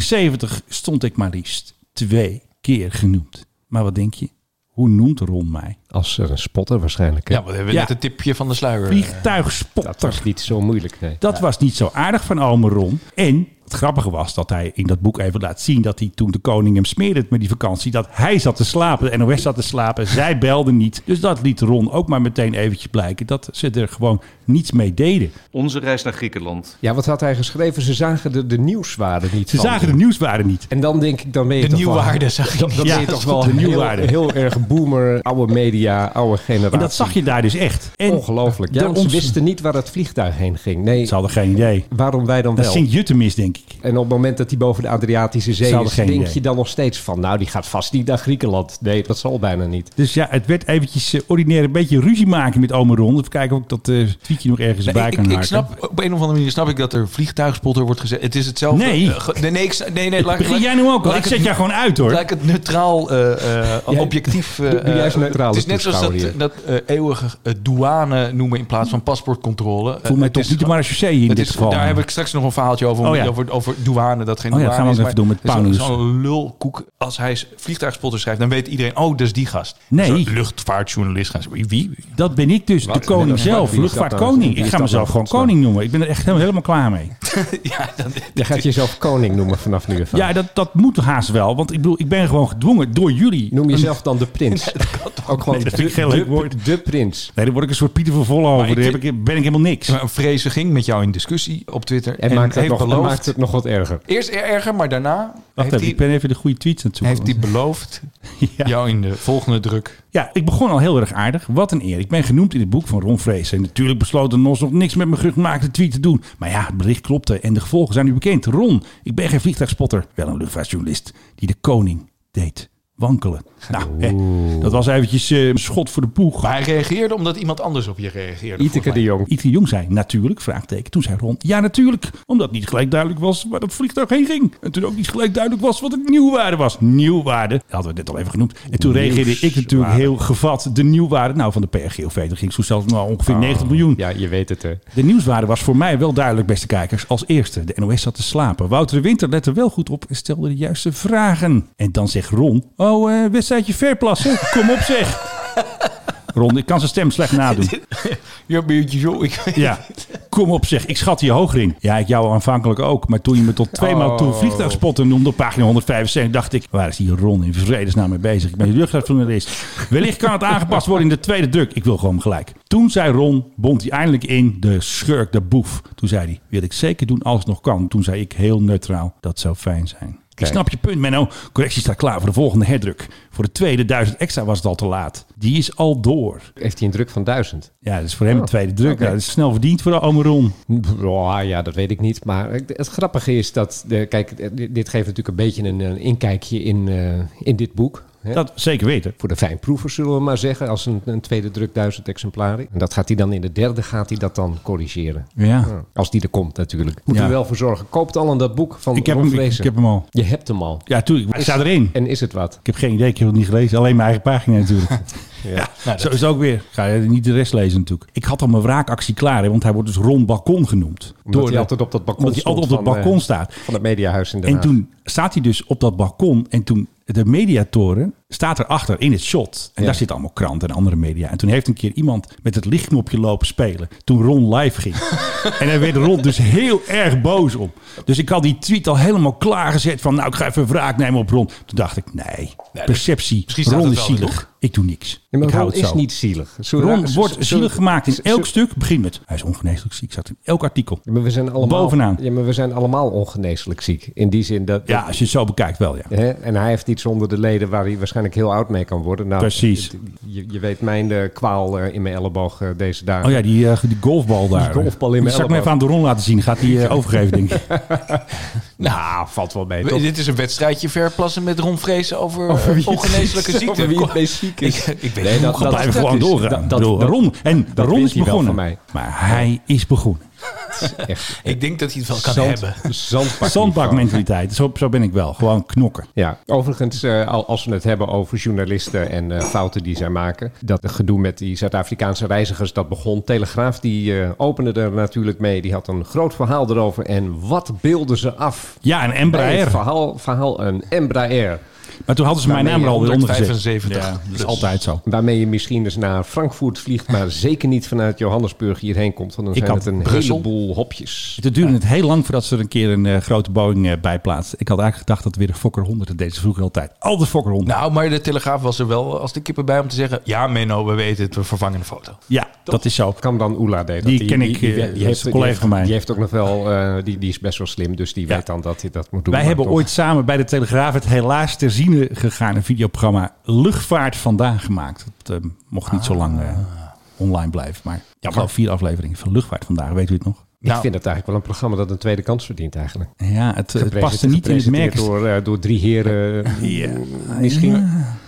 [SPEAKER 6] 174 stond ik maar liefst twee keer genoemd. Maar wat denk je? Hoe noemt Ron mij?
[SPEAKER 7] Als eh, een spotter waarschijnlijk. hè.
[SPEAKER 1] Ja, Nou, we hebben
[SPEAKER 6] Ja.
[SPEAKER 1] net een tipje van de sluier. eh.
[SPEAKER 6] Vliegtuigspotter.
[SPEAKER 7] dat was niet zo moeilijk, nee.
[SPEAKER 6] Dat was niet zo aardig van ome Ron. En Het grappige was dat hij in dat boek even laat zien dat hij toen de koning hem smeerde met die vakantie, dat hij zat te slapen, de NOS zat te slapen, zij belde niet. Dus dat liet Ron ook maar meteen eventjes blijken dat ze er gewoon niets mee deden.
[SPEAKER 11] Onze reis naar Griekenland.
[SPEAKER 7] Ja, wat had hij geschreven? Ze zagen de, de nieuwswaarde niet
[SPEAKER 6] Ze
[SPEAKER 7] van.
[SPEAKER 6] zagen de nieuwswaarden niet.
[SPEAKER 7] En dan denk ik, dan ben je
[SPEAKER 1] De
[SPEAKER 7] toch
[SPEAKER 1] nieuwwaarde
[SPEAKER 7] wel...
[SPEAKER 1] zag ik.
[SPEAKER 7] Dan, dan
[SPEAKER 6] Ja,
[SPEAKER 7] ben je toch
[SPEAKER 6] dat
[SPEAKER 7] wel
[SPEAKER 6] klopt, de
[SPEAKER 7] heel-
[SPEAKER 6] nieuwwaarde.
[SPEAKER 7] Heel, erg boomer, oude media, oude generatie.
[SPEAKER 6] En dat zag je daar dus echt. En
[SPEAKER 7] Ongelooflijk. Ja,
[SPEAKER 6] de
[SPEAKER 7] want ze
[SPEAKER 6] ons-
[SPEAKER 7] wisten niet waar het vliegtuig heen ging. Nee,
[SPEAKER 6] Ze hadden geen idee.
[SPEAKER 7] waarom wij dan
[SPEAKER 6] Dat is
[SPEAKER 7] wel?
[SPEAKER 6] Sint-Jutemis, denk ik.
[SPEAKER 7] En op het moment dat hij boven de Adriatische
[SPEAKER 6] Ze
[SPEAKER 7] Zee
[SPEAKER 6] hadden
[SPEAKER 7] is,
[SPEAKER 6] geen
[SPEAKER 7] denk
[SPEAKER 6] idee.
[SPEAKER 7] je dan nog steeds van... nou, die gaat vast niet naar Griekenland. Nee, dat zal bijna niet.
[SPEAKER 6] Dus ja, het werd eventjes eh, ordinair een beetje ruzie maken met Ome Ron. Even kijken of ik dat eh, tweetje nog ergens bij
[SPEAKER 1] Nee, ik,
[SPEAKER 6] kan
[SPEAKER 1] ik
[SPEAKER 6] maken.
[SPEAKER 1] snap, op een of andere manier snap ik dat er vliegtuigspotter wordt gezet. Het is hetzelfde.
[SPEAKER 6] Nee.
[SPEAKER 1] Eh, ge- nee, nee, ik sna- nee, nee laat,
[SPEAKER 6] Begin
[SPEAKER 1] laat-
[SPEAKER 6] jij nu ook al?
[SPEAKER 1] laat
[SPEAKER 6] Ik
[SPEAKER 1] het-
[SPEAKER 6] zet jou gewoon uit hoor.
[SPEAKER 1] Laat ik het neutraal, eh, eh,
[SPEAKER 7] Jij-
[SPEAKER 1] objectief... eh,
[SPEAKER 7] Doe- doe jij eens
[SPEAKER 1] eh,
[SPEAKER 7] neutraal
[SPEAKER 1] Het is net zoals dat,
[SPEAKER 7] toeschouwer hier.
[SPEAKER 1] dat eh, eeuwige eh, douane noemen in plaats van paspoortcontrole. Eh,
[SPEAKER 6] Voel mij
[SPEAKER 1] het
[SPEAKER 6] toch
[SPEAKER 1] is
[SPEAKER 6] niet de
[SPEAKER 1] gewoon-
[SPEAKER 6] marechaussee in
[SPEAKER 1] het
[SPEAKER 6] dit
[SPEAKER 1] is-
[SPEAKER 6] geval.
[SPEAKER 1] Daar heb ik straks nog een verhaaltje over.
[SPEAKER 6] Oh ja.
[SPEAKER 1] over, over douane, dat geen
[SPEAKER 6] Oh ja,
[SPEAKER 1] douane
[SPEAKER 6] gaan
[SPEAKER 1] is.
[SPEAKER 6] we eens even doen met
[SPEAKER 1] maar het is
[SPEAKER 6] Paulus.
[SPEAKER 1] Zo'n lulkoek. Als hij vliegtuigspotter schrijft, dan weet iedereen... Oh, dat is die gast.
[SPEAKER 6] Nee.
[SPEAKER 1] Zo'n luchtvaartjournalist. gaan ze- Wie? wie?
[SPEAKER 6] Dat ben ik dus, de koning
[SPEAKER 7] Wie is
[SPEAKER 6] zelf,
[SPEAKER 7] dat nou?
[SPEAKER 6] luchtvaartkoning.
[SPEAKER 7] Wie
[SPEAKER 6] Ik
[SPEAKER 7] is
[SPEAKER 6] ga
[SPEAKER 7] dat
[SPEAKER 6] mezelf
[SPEAKER 7] nou?
[SPEAKER 6] gewoon koning noemen. Ik ben er echt helemaal, helemaal klaar mee.
[SPEAKER 1] ja, dan,
[SPEAKER 7] Je gaat jezelf koning noemen vanaf nu. Ervan.
[SPEAKER 6] Ja, dat, dat moet haast wel. Want ik bedoel, ik ben gewoon gedwongen door jullie.
[SPEAKER 7] Noem jezelf dan de prins. Ook gewoon
[SPEAKER 6] Nee, dat
[SPEAKER 7] de-
[SPEAKER 6] vind ik geen
[SPEAKER 7] de-
[SPEAKER 6] leuk woord.
[SPEAKER 7] De prins.
[SPEAKER 6] Nee, dan word ik een soort Pieter van Volle over.
[SPEAKER 1] ik
[SPEAKER 6] Daar heb
[SPEAKER 1] vind-
[SPEAKER 6] ik, ben ik helemaal niks.
[SPEAKER 1] Maar Vrezen ging met jou in discussie op Twitter.
[SPEAKER 7] En,
[SPEAKER 1] En,
[SPEAKER 7] maakt, het
[SPEAKER 1] heeft
[SPEAKER 7] nog, en
[SPEAKER 1] beloofd.
[SPEAKER 7] maakt het nog wat erger.
[SPEAKER 1] Eerst er- erger, maar daarna
[SPEAKER 6] Wacht
[SPEAKER 1] heeft
[SPEAKER 6] even, ik
[SPEAKER 1] hij,
[SPEAKER 6] ben even de goede tweets aan het zoeken.
[SPEAKER 1] heeft hij beloofd
[SPEAKER 6] Ja.
[SPEAKER 1] jou in de volgende druk.
[SPEAKER 6] Ja, ik begon al heel erg aardig. Wat een eer. Ik ben genoemd in het boek van Ron Vrees. En natuurlijk besloot de NOS nog niks met mijn gemaakte tweet te doen. Maar ja, het bericht klopte en de gevolgen zijn nu bekend. Ron, ik ben geen vliegtuigspotter. Wel een luchtvaartjournalist die de koning deed wankelen. Nou, hè, dat was eventjes eh, een schot voor de
[SPEAKER 1] Maar
[SPEAKER 6] poeg.
[SPEAKER 1] hij reageerde omdat iemand anders op je reageerde.
[SPEAKER 7] Iteke de
[SPEAKER 1] volgens
[SPEAKER 7] Jong.
[SPEAKER 6] Ietke Jong zei natuurlijk, vraagteken. Toen zei Ron, ja natuurlijk. Omdat niet gelijk duidelijk was waar dat vliegtuig heen ging. En toen ook niet gelijk duidelijk was wat het nieuwwaarde was. Nieuwwaarde, dat hadden we net al even genoemd. En toen reageerde ik natuurlijk heel gevat. De nieuwwaarde, nou van de PRGOV, dat ging zo zelfs nou ongeveer 90 miljoen.
[SPEAKER 7] Ja, je weet het hè.
[SPEAKER 6] De nieuwswaarde was voor mij wel duidelijk, beste kijkers. Als eerste, de NOS zat te slapen. Wouter de Winter lette wel goed op en stelde de juiste vragen. En dan zegt Ron, oh, eh wedstrijdje verplassen, kom op zeg. Ron, ik kan zijn stem slecht nadoen.
[SPEAKER 1] mij. Ja, beetje zo. Ik,
[SPEAKER 6] Ja, kom op zeg, ik schat je hoger in. Ja, ik jou aanvankelijk ook. Maar toen je me tot tweemaal toe vliegtuigspotten noemde op pagina 175... dacht ik, waar is die Ron in vredesnaam mee bezig? Ik ben luchtvaartjournalist. Wellicht kan het aangepast worden in de tweede druk. Ik wil gewoon gelijk. Toen zei Ron, bond hij eindelijk in, de schurk, de boef. Toen zei hij, wil ik zeker doen als het nog kan. Toen zei ik heel neutraal, dat zou fijn zijn. Ik snap je punt, Menno. Correctie staat klaar voor de volgende herdruk. Voor de tweede duizend extra was het al te laat. Die is al door.
[SPEAKER 7] Heeft hij een druk van duizend?
[SPEAKER 6] Ja, dat is voor hem een tweede druk.
[SPEAKER 7] oké.
[SPEAKER 6] Ja, dat is snel verdiend voor de ome Ron.
[SPEAKER 7] Ja, Oh, ja, dat weet ik niet. Maar het grappige is dat... eh, Kijk, eh, dit dit geeft natuurlijk een beetje een, een inkijkje in, eh, in dit boek. hè.
[SPEAKER 6] Dat zeker weten.
[SPEAKER 7] voor de fijnproevers, zullen we maar zeggen. Als een, een tweede druk duizend exemplaren. En dat gaat hij dan in de derde, gaat hij dat dan corrigeren.
[SPEAKER 6] Ja.
[SPEAKER 7] Als die er komt natuurlijk. Moet
[SPEAKER 6] Ja.
[SPEAKER 7] u wel voor zorgen. Koopt al aan dat boek van
[SPEAKER 6] Ik heb, hem,
[SPEAKER 7] Ron
[SPEAKER 6] ik,
[SPEAKER 7] Vrezen.
[SPEAKER 6] ik heb hem al.
[SPEAKER 7] Je hebt hem al.
[SPEAKER 6] Ja, tuurlijk. Ik sta erin.
[SPEAKER 7] En is het wat?
[SPEAKER 6] Ik heb geen idee. Ik heb het niet gelezen. Alleen mijn eigen pagina natuurlijk. ja.
[SPEAKER 1] dat-
[SPEAKER 6] Zo Nou, is het ook weer. Ga je niet de rest lezen natuurlijk. Ik had al mijn wraakactie klaar. Hè, want hij wordt dus Ron Balkon genoemd.
[SPEAKER 7] Omdat hij
[SPEAKER 6] de-
[SPEAKER 7] altijd op dat balkon
[SPEAKER 6] Omdat hij
[SPEAKER 7] stond
[SPEAKER 6] altijd op dat
[SPEAKER 7] van,
[SPEAKER 6] balkon
[SPEAKER 7] eh,
[SPEAKER 6] staat.
[SPEAKER 7] Van het mediahuis in Den
[SPEAKER 6] En
[SPEAKER 7] Haag.
[SPEAKER 6] toen staat hij dus op dat balkon. En toen de mediatoren staat erachter in het shot. En
[SPEAKER 7] Ja.
[SPEAKER 6] daar zitten allemaal kranten en andere media. En toen heeft een keer iemand met het lichtknopje lopen spelen. Toen Ron live ging. en daar werd Ron dus heel erg boos om. Dus ik had die tweet al helemaal klaargezet. Van nou, ik ga even wraak nemen op Ron. Toen dacht ik, nee, perceptie.
[SPEAKER 1] misschien staat
[SPEAKER 6] Ron
[SPEAKER 1] het
[SPEAKER 6] is
[SPEAKER 1] wel in het
[SPEAKER 6] zielig. Ik doe niks.
[SPEAKER 7] Ja, maar
[SPEAKER 6] ik hou
[SPEAKER 7] Ron
[SPEAKER 6] het zo.
[SPEAKER 7] is niet zielig. Zullen we-
[SPEAKER 6] Ron
[SPEAKER 7] z-
[SPEAKER 6] wordt
[SPEAKER 7] z- zullen-
[SPEAKER 6] zielig gemaakt in
[SPEAKER 7] z-
[SPEAKER 6] elk
[SPEAKER 7] z-
[SPEAKER 6] stuk. Begin met, hij is ongeneeslijk ziek. Zat in elk artikel.
[SPEAKER 7] Ja, maar we zijn allemaal,
[SPEAKER 6] Bovenaan.
[SPEAKER 7] Ja, maar we zijn allemaal ongeneeslijk ziek. In die zin dat...
[SPEAKER 6] Ja,
[SPEAKER 7] dat-
[SPEAKER 6] als je het zo bekijkt wel, ja.
[SPEAKER 7] hè, en hij heeft iets onder de leden waar hij waarschijnlijk heel oud mee kan worden. Nou,
[SPEAKER 6] Precies.
[SPEAKER 7] het- Je, je weet mijn eh, kwaal eh, in mijn elleboog eh, deze dagen.
[SPEAKER 6] Oh ja, die, eh, die golfbal daar.
[SPEAKER 7] Die golfbal in
[SPEAKER 6] Die
[SPEAKER 7] mijn
[SPEAKER 6] zal ik me
[SPEAKER 7] elleboog.
[SPEAKER 6] even aan de rond laten zien. Gaat die eh, overgeven, denk ik.
[SPEAKER 7] Nou, valt wel mee,
[SPEAKER 1] We-
[SPEAKER 7] toch?
[SPEAKER 1] Dit is een wedstrijdje verplassen met Ron Vrezen over,
[SPEAKER 7] Over wie
[SPEAKER 1] over
[SPEAKER 7] het
[SPEAKER 1] ongeneeslijke
[SPEAKER 7] is,
[SPEAKER 1] ziekte.
[SPEAKER 7] over wie het meest ziek is.
[SPEAKER 1] Ik, ik weet
[SPEAKER 7] Nee,
[SPEAKER 1] niet hoe
[SPEAKER 7] dat-
[SPEAKER 6] Dat Oh,
[SPEAKER 1] dat
[SPEAKER 6] blijven gewoon
[SPEAKER 1] is.
[SPEAKER 6] doorgaan.
[SPEAKER 7] dat-
[SPEAKER 6] Dat,
[SPEAKER 7] dat- dat-
[SPEAKER 6] Ron, en
[SPEAKER 7] dat
[SPEAKER 6] Ron
[SPEAKER 7] wint
[SPEAKER 6] is
[SPEAKER 7] hij wel
[SPEAKER 6] begonnen.
[SPEAKER 7] van mij.
[SPEAKER 6] Maar hij is begonnen.
[SPEAKER 7] Echt.
[SPEAKER 1] Ik denk dat hij het wel kan
[SPEAKER 7] Zand-
[SPEAKER 1] hebben.
[SPEAKER 7] Zandbak.
[SPEAKER 6] Zandbakmentaliteit. Zo, zo ben ik wel. Gewoon knokken.
[SPEAKER 7] Ja, overigens, eh, al- als we het hebben over journalisten en eh, fouten die zij maken. Dat gedoe met die Zuid-Afrikaanse reizigers, dat begon. Telegraaf, die eh, opende er natuurlijk mee. Die had een groot verhaal erover. En wat beelden ze af?
[SPEAKER 6] Ja, en
[SPEAKER 7] Bij het
[SPEAKER 6] Embraer.
[SPEAKER 7] verhaal, verhaal een Embraer.
[SPEAKER 6] Maar toen hadden ze mijn
[SPEAKER 7] Nou,
[SPEAKER 6] naam er alweer onder gezet.
[SPEAKER 1] 175.
[SPEAKER 6] Ja, dat is
[SPEAKER 1] Dus-
[SPEAKER 6] altijd zo.
[SPEAKER 7] Waarmee je misschien eens naar Frankfurt vliegt, maar zeker niet vanuit Johannesburg hierheen komt. Want dan
[SPEAKER 6] Ik
[SPEAKER 7] zijn
[SPEAKER 6] had
[SPEAKER 7] het een
[SPEAKER 6] Brussel.
[SPEAKER 7] heleboel hopjes.
[SPEAKER 6] Het duurde het heel lang voordat ze er een keer een eh, grote Boeing eh bij plaatst. Ik had eigenlijk gedacht dat weer de Fokker 100 dat deed ze vroeger altijd. Al de Fokker 100.
[SPEAKER 1] Nou, maar de Telegraaf was er wel als de kippen bij om te zeggen... Ja, Menno, we weten het, we vervangen de foto.
[SPEAKER 6] ja, dat is zo.
[SPEAKER 7] Kan dan Oela deed dat.
[SPEAKER 6] Die ken ik, eh, dat is een collega
[SPEAKER 7] heeft-
[SPEAKER 6] van mij.
[SPEAKER 7] Die heeft ook nog wel, eh, die, die is best wel slim, dus die
[SPEAKER 6] Ja.
[SPEAKER 7] weet dan dat hij dat moet doen.
[SPEAKER 6] Wij
[SPEAKER 7] maar
[SPEAKER 6] hebben
[SPEAKER 7] toch.
[SPEAKER 6] ooit samen bij de Telegraaf het helaas ter ziene gegaane videoprogramma Luchtvaart Vandaag gemaakt. Dat eh, mocht niet zo lang eh, online blijven, maar ja, wel vier afleveringen van Luchtvaart Vandaag, weet u het nog?
[SPEAKER 7] Ik vind het eigenlijk wel een programma dat een tweede kans verdient eigenlijk.
[SPEAKER 6] Ja, het, het
[SPEAKER 7] Gepresenteerd-
[SPEAKER 6] paste niet in het
[SPEAKER 7] gepresenteerd
[SPEAKER 6] merk.
[SPEAKER 7] Door, eh, door drie heren.
[SPEAKER 6] Ja,
[SPEAKER 7] Misschien.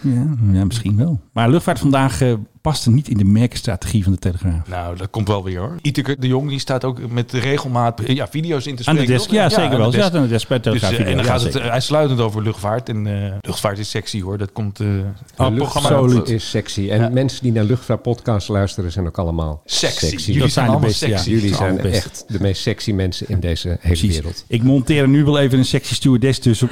[SPEAKER 6] ja, ja, misschien wel. Maar Luchtvaart Vandaag eh, paste niet in de merkenstrategie van de Telegraaf.
[SPEAKER 1] Nou, dat komt wel weer hoor. Iteker de Jong die staat ook met regelmaat eh, ja, video's in te
[SPEAKER 6] Aan
[SPEAKER 1] spreken.
[SPEAKER 6] de desk,
[SPEAKER 1] toch?
[SPEAKER 6] ja, zeker
[SPEAKER 1] aan de
[SPEAKER 6] wel.
[SPEAKER 1] desk.
[SPEAKER 6] Ja, aan de desk bij de
[SPEAKER 1] Dus,
[SPEAKER 6] Telegraaf.
[SPEAKER 1] eh, en dan
[SPEAKER 6] Ja,
[SPEAKER 1] gaat het
[SPEAKER 6] zeker.
[SPEAKER 1] eh, uitsluitend over luchtvaart. En eh, luchtvaart is sexy hoor. Dat komt. eh het programma
[SPEAKER 7] Absoluut is sexy. En mensen die naar luchtvaartpodcasts luisteren zijn ook allemaal
[SPEAKER 1] Sexy.
[SPEAKER 7] sexy.
[SPEAKER 1] Jullie zijn
[SPEAKER 6] Dat zijn de
[SPEAKER 1] allemaal
[SPEAKER 6] beste, ja.
[SPEAKER 1] sexy.
[SPEAKER 7] Jullie
[SPEAKER 6] zijn
[SPEAKER 7] zijn
[SPEAKER 6] allemaal best.
[SPEAKER 7] echt de meest sexy mensen in deze hele
[SPEAKER 6] Precies.
[SPEAKER 7] wereld.
[SPEAKER 6] Ik monteer er nu wel even een sexy stewardess tussen.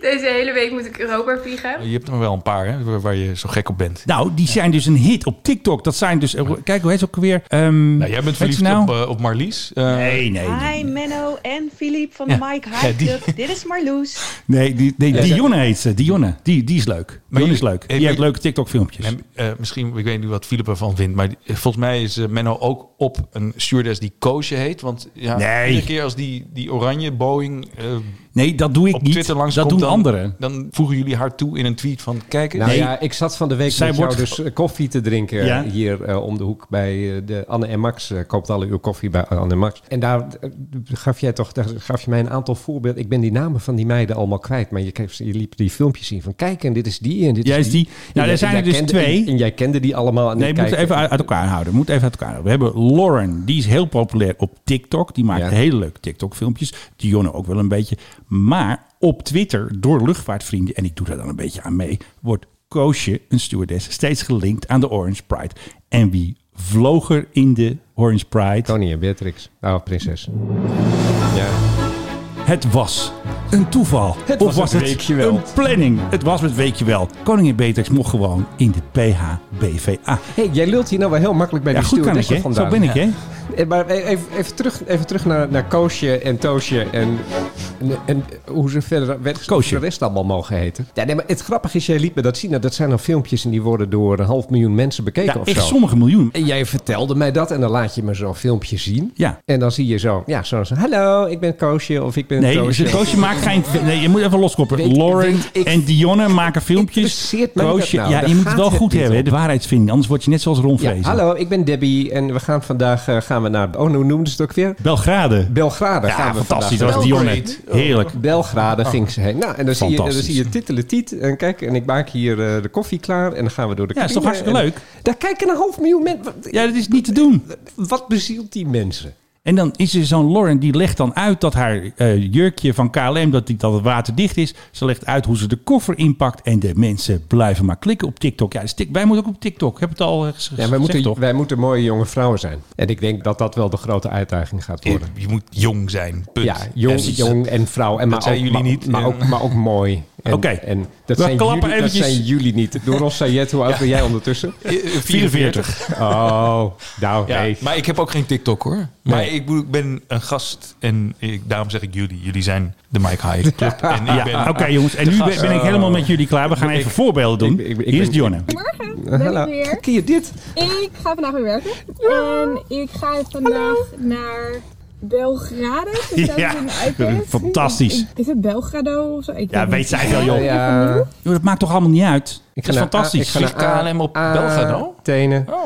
[SPEAKER 12] Deze hele week moet ik Europa vliegen.
[SPEAKER 1] Je hebt er wel een paar hè, waar, waar je zo gek op bent.
[SPEAKER 6] Nou, die zijn dus een hit op TikTok. Dat zijn dus... Kijk, hoe heet ze ook alweer? Ehm,
[SPEAKER 1] Nou, jij bent
[SPEAKER 6] heet ze
[SPEAKER 1] verliefd
[SPEAKER 6] nou?
[SPEAKER 1] op, eh, op Marlies. Eh,
[SPEAKER 6] Nee, nee.
[SPEAKER 13] Hi Menno en Filip van
[SPEAKER 1] Ja.
[SPEAKER 13] de Mike
[SPEAKER 1] Ja,
[SPEAKER 13] High
[SPEAKER 1] die-
[SPEAKER 13] Club. Dit is Marloes.
[SPEAKER 6] Nee, die, die,
[SPEAKER 1] Ja,
[SPEAKER 6] Dionne heet ze. Dionne. Die, die is leuk. Dionne is
[SPEAKER 1] jullie-
[SPEAKER 6] leuk.
[SPEAKER 1] Hey,
[SPEAKER 6] Die heeft
[SPEAKER 1] maar-
[SPEAKER 6] leuke TikTok-filmpjes.
[SPEAKER 1] En eh, misschien, ik weet niet wat Philip ervan vindt, maar die- eh, volgens mij is eh, Menno ook op een stewardess die Koosje heet. Want ja,
[SPEAKER 6] Nee.
[SPEAKER 1] iedere keer als die, die oranje Boeing eh,
[SPEAKER 6] Nee, dat doe ik
[SPEAKER 1] op
[SPEAKER 6] niet.
[SPEAKER 1] Twitter langs
[SPEAKER 6] Dat
[SPEAKER 1] komt,
[SPEAKER 6] doen
[SPEAKER 1] dan,
[SPEAKER 6] anderen.
[SPEAKER 1] Dan voegen jullie haar toe in een tweet van kijk eens.
[SPEAKER 7] Nou
[SPEAKER 6] Nee.
[SPEAKER 7] ja, ik zat van de week
[SPEAKER 6] Zij
[SPEAKER 7] met
[SPEAKER 6] wordt
[SPEAKER 7] jou dus eh, koffie te drinken
[SPEAKER 6] Ja.
[SPEAKER 7] hier eh, om de hoek bij eh, de Anne en Max. Eh, koopt alle uw koffie bij Anne en Max. En daar eh, gaf jij toch, daar gaf je mij een aantal voorbeelden. Ik ben die namen van die meiden allemaal kwijt, maar je, kreeg, je liep die filmpjes zien van kijk en dit is die en dit
[SPEAKER 6] Jij
[SPEAKER 7] is
[SPEAKER 6] is
[SPEAKER 7] die.
[SPEAKER 6] die. Nou,
[SPEAKER 7] En
[SPEAKER 6] er
[SPEAKER 7] jij-
[SPEAKER 6] zijn
[SPEAKER 7] en
[SPEAKER 6] er
[SPEAKER 7] jij
[SPEAKER 6] dus
[SPEAKER 7] kende-
[SPEAKER 6] twee.
[SPEAKER 7] En, en jij kende die allemaal. En
[SPEAKER 6] Nee,
[SPEAKER 7] ik
[SPEAKER 6] we moeten
[SPEAKER 7] kijk-
[SPEAKER 6] even uit, uit elkaar houden. We moeten even uit elkaar houden. We hebben Lauren, die is heel populair op TikTok. Die maakt
[SPEAKER 7] Ja.
[SPEAKER 6] hele leuke TikTok-filmpjes. Dionne ook wel een beetje. Maar op Twitter, door luchtvaartvrienden, en ik doe daar dan een beetje aan mee, wordt Koosje, een stewardess, steeds gelinkt aan de Orange Pride. En wie vloog er in de Orange Pride?
[SPEAKER 7] Tony en Beatrix. Oh, prinses. Ja.
[SPEAKER 6] Het was een toeval.
[SPEAKER 7] Het
[SPEAKER 6] of was,
[SPEAKER 7] was het
[SPEAKER 6] het
[SPEAKER 7] weekje wel.
[SPEAKER 6] een planning? Het was het weekje wel. Koningin Beatrix mocht gewoon in de PHBVA.
[SPEAKER 7] Hey, jij lult hier nou wel heel makkelijk bij
[SPEAKER 6] Ja,
[SPEAKER 7] die
[SPEAKER 6] goed kan ik,
[SPEAKER 7] stewardessen
[SPEAKER 6] hè?
[SPEAKER 7] vandaan.
[SPEAKER 6] Zo ben ik, hè?
[SPEAKER 7] Eh, Maar even, even terug, even terug naar, naar Koosje en Toosje en, en, en hoe ze verder werd,
[SPEAKER 6] Koosje.
[SPEAKER 7] de rest allemaal mogen heten. Ja, nee, maar het grappige is, jij liet me dat zien. Nou, dat zijn dan filmpjes en die worden door een half miljoen mensen bekeken
[SPEAKER 6] Ja,
[SPEAKER 7] of
[SPEAKER 6] echt
[SPEAKER 7] zo.
[SPEAKER 6] sommige miljoen.
[SPEAKER 7] En jij vertelde mij dat en dan laat je me zo'n filmpje zien.
[SPEAKER 6] Ja.
[SPEAKER 7] En dan zie je zo, ja, zo, zo, hallo, ik ben Koosje of ik ben
[SPEAKER 6] Nee,
[SPEAKER 7] Toosje.
[SPEAKER 6] Koosje, maakt geen... Nee, je moet even
[SPEAKER 7] Weet-
[SPEAKER 6] loskoppelen. Lauren
[SPEAKER 7] weet ik-
[SPEAKER 6] en Dionne maken filmpjes.
[SPEAKER 7] Interesseert mij dat nou?
[SPEAKER 6] ja,
[SPEAKER 7] Daar
[SPEAKER 6] je moet het
[SPEAKER 7] gaat
[SPEAKER 6] wel
[SPEAKER 7] het
[SPEAKER 6] goed
[SPEAKER 7] niet
[SPEAKER 6] hebben, hè,
[SPEAKER 7] om.
[SPEAKER 6] de waarheidsvinding. Anders word je net zoals Ron
[SPEAKER 7] Ja,
[SPEAKER 6] Vrezen.
[SPEAKER 7] hallo, ik ben Debbie en we gaan vandaag eh, gaan we naar, oh, hoe noemden ze het ook weer?
[SPEAKER 6] Belgrade.
[SPEAKER 7] Belgrade gaan
[SPEAKER 6] ja,
[SPEAKER 7] we
[SPEAKER 6] fantastisch.
[SPEAKER 7] vandaag
[SPEAKER 6] Dat was Dionne. Heerlijk. Ah,
[SPEAKER 7] Belgrade ging ze heen. Nou, en dan zie je, dan
[SPEAKER 6] Fantastisch.
[SPEAKER 7] zie je titeletiet. En kijk, en ik maak hier eh, de koffie klaar. En dan gaan we door de
[SPEAKER 6] Ja, is toch
[SPEAKER 7] cabine.
[SPEAKER 6] hartstikke
[SPEAKER 7] En
[SPEAKER 6] leuk?
[SPEAKER 7] Daar kijken een half miljoen mensen. Wat,
[SPEAKER 6] Ja, dat is niet te doen.
[SPEAKER 7] wat bezielt die mensen?
[SPEAKER 6] En dan is er zo'n Lauren die legt dan uit dat haar eh, jurkje van KLM dat, die, dat het waterdicht is. Ze legt uit hoe ze de koffer inpakt. En de mensen blijven maar klikken op TikTok. Ja, dus tik, wij moeten ook op TikTok. Ik heb het al eh, ges-
[SPEAKER 7] Ja, wij,
[SPEAKER 6] gezegd,
[SPEAKER 7] moeten,
[SPEAKER 6] toch?
[SPEAKER 7] wij moeten mooie jonge vrouwen zijn. En ik denk dat dat wel de grote uitdaging gaat
[SPEAKER 1] je,
[SPEAKER 7] worden.
[SPEAKER 1] je moet jong zijn. Punt.
[SPEAKER 7] Ja, jong,
[SPEAKER 1] Precies.
[SPEAKER 7] jong en vrouw. En maar
[SPEAKER 1] zijn
[SPEAKER 7] ook,
[SPEAKER 1] jullie
[SPEAKER 7] maar,
[SPEAKER 1] niet.
[SPEAKER 7] Maar,
[SPEAKER 1] En-
[SPEAKER 7] ook, maar ook mooi. En-
[SPEAKER 6] eh. Oké.
[SPEAKER 7] En dat
[SPEAKER 6] We
[SPEAKER 7] zijn,
[SPEAKER 6] klappen
[SPEAKER 7] jullie, dat
[SPEAKER 6] eventjes.
[SPEAKER 7] zijn jullie niet. Door Ross Sayed, hoe oud ben jij ondertussen?
[SPEAKER 1] Eh, eh,
[SPEAKER 6] 44.
[SPEAKER 7] Oh, nou
[SPEAKER 1] Ja,
[SPEAKER 7] nee.
[SPEAKER 1] Maar ik heb ook geen TikTok hoor. Maar
[SPEAKER 7] Nee.
[SPEAKER 1] ik, bedoel, ik ben een gast en ik, daarom zeg ik jullie. Jullie zijn de Mike High Club. En ik ben,
[SPEAKER 6] Oké jongens, en nu ben, ben ik helemaal met jullie klaar. We gaan even voorbeelden doen.
[SPEAKER 7] ik- ik- ik
[SPEAKER 6] Hier is
[SPEAKER 7] ben-
[SPEAKER 6] Dionne. Eh,
[SPEAKER 12] Morgen
[SPEAKER 7] Hallo. Ken je dit?
[SPEAKER 12] Ik ga vandaag weer werken. En ik ga vandaag naar Belgrade. Dus dat is
[SPEAKER 6] Ja,
[SPEAKER 12] in de iPad.
[SPEAKER 6] fantastisch.
[SPEAKER 12] Ik- Is het Belgrado of zo? Ik
[SPEAKER 6] Ja, weet zij wel, joh.
[SPEAKER 7] Ja.
[SPEAKER 6] Joh, Dat maakt toch allemaal niet uit?
[SPEAKER 7] Ik
[SPEAKER 6] Dat
[SPEAKER 7] ga
[SPEAKER 6] is
[SPEAKER 7] naar A-
[SPEAKER 6] fantastisch.
[SPEAKER 7] ik ga naar
[SPEAKER 1] KLM op
[SPEAKER 6] Ah.
[SPEAKER 7] A-
[SPEAKER 1] Belgrado?
[SPEAKER 7] Tenen.
[SPEAKER 1] Oh,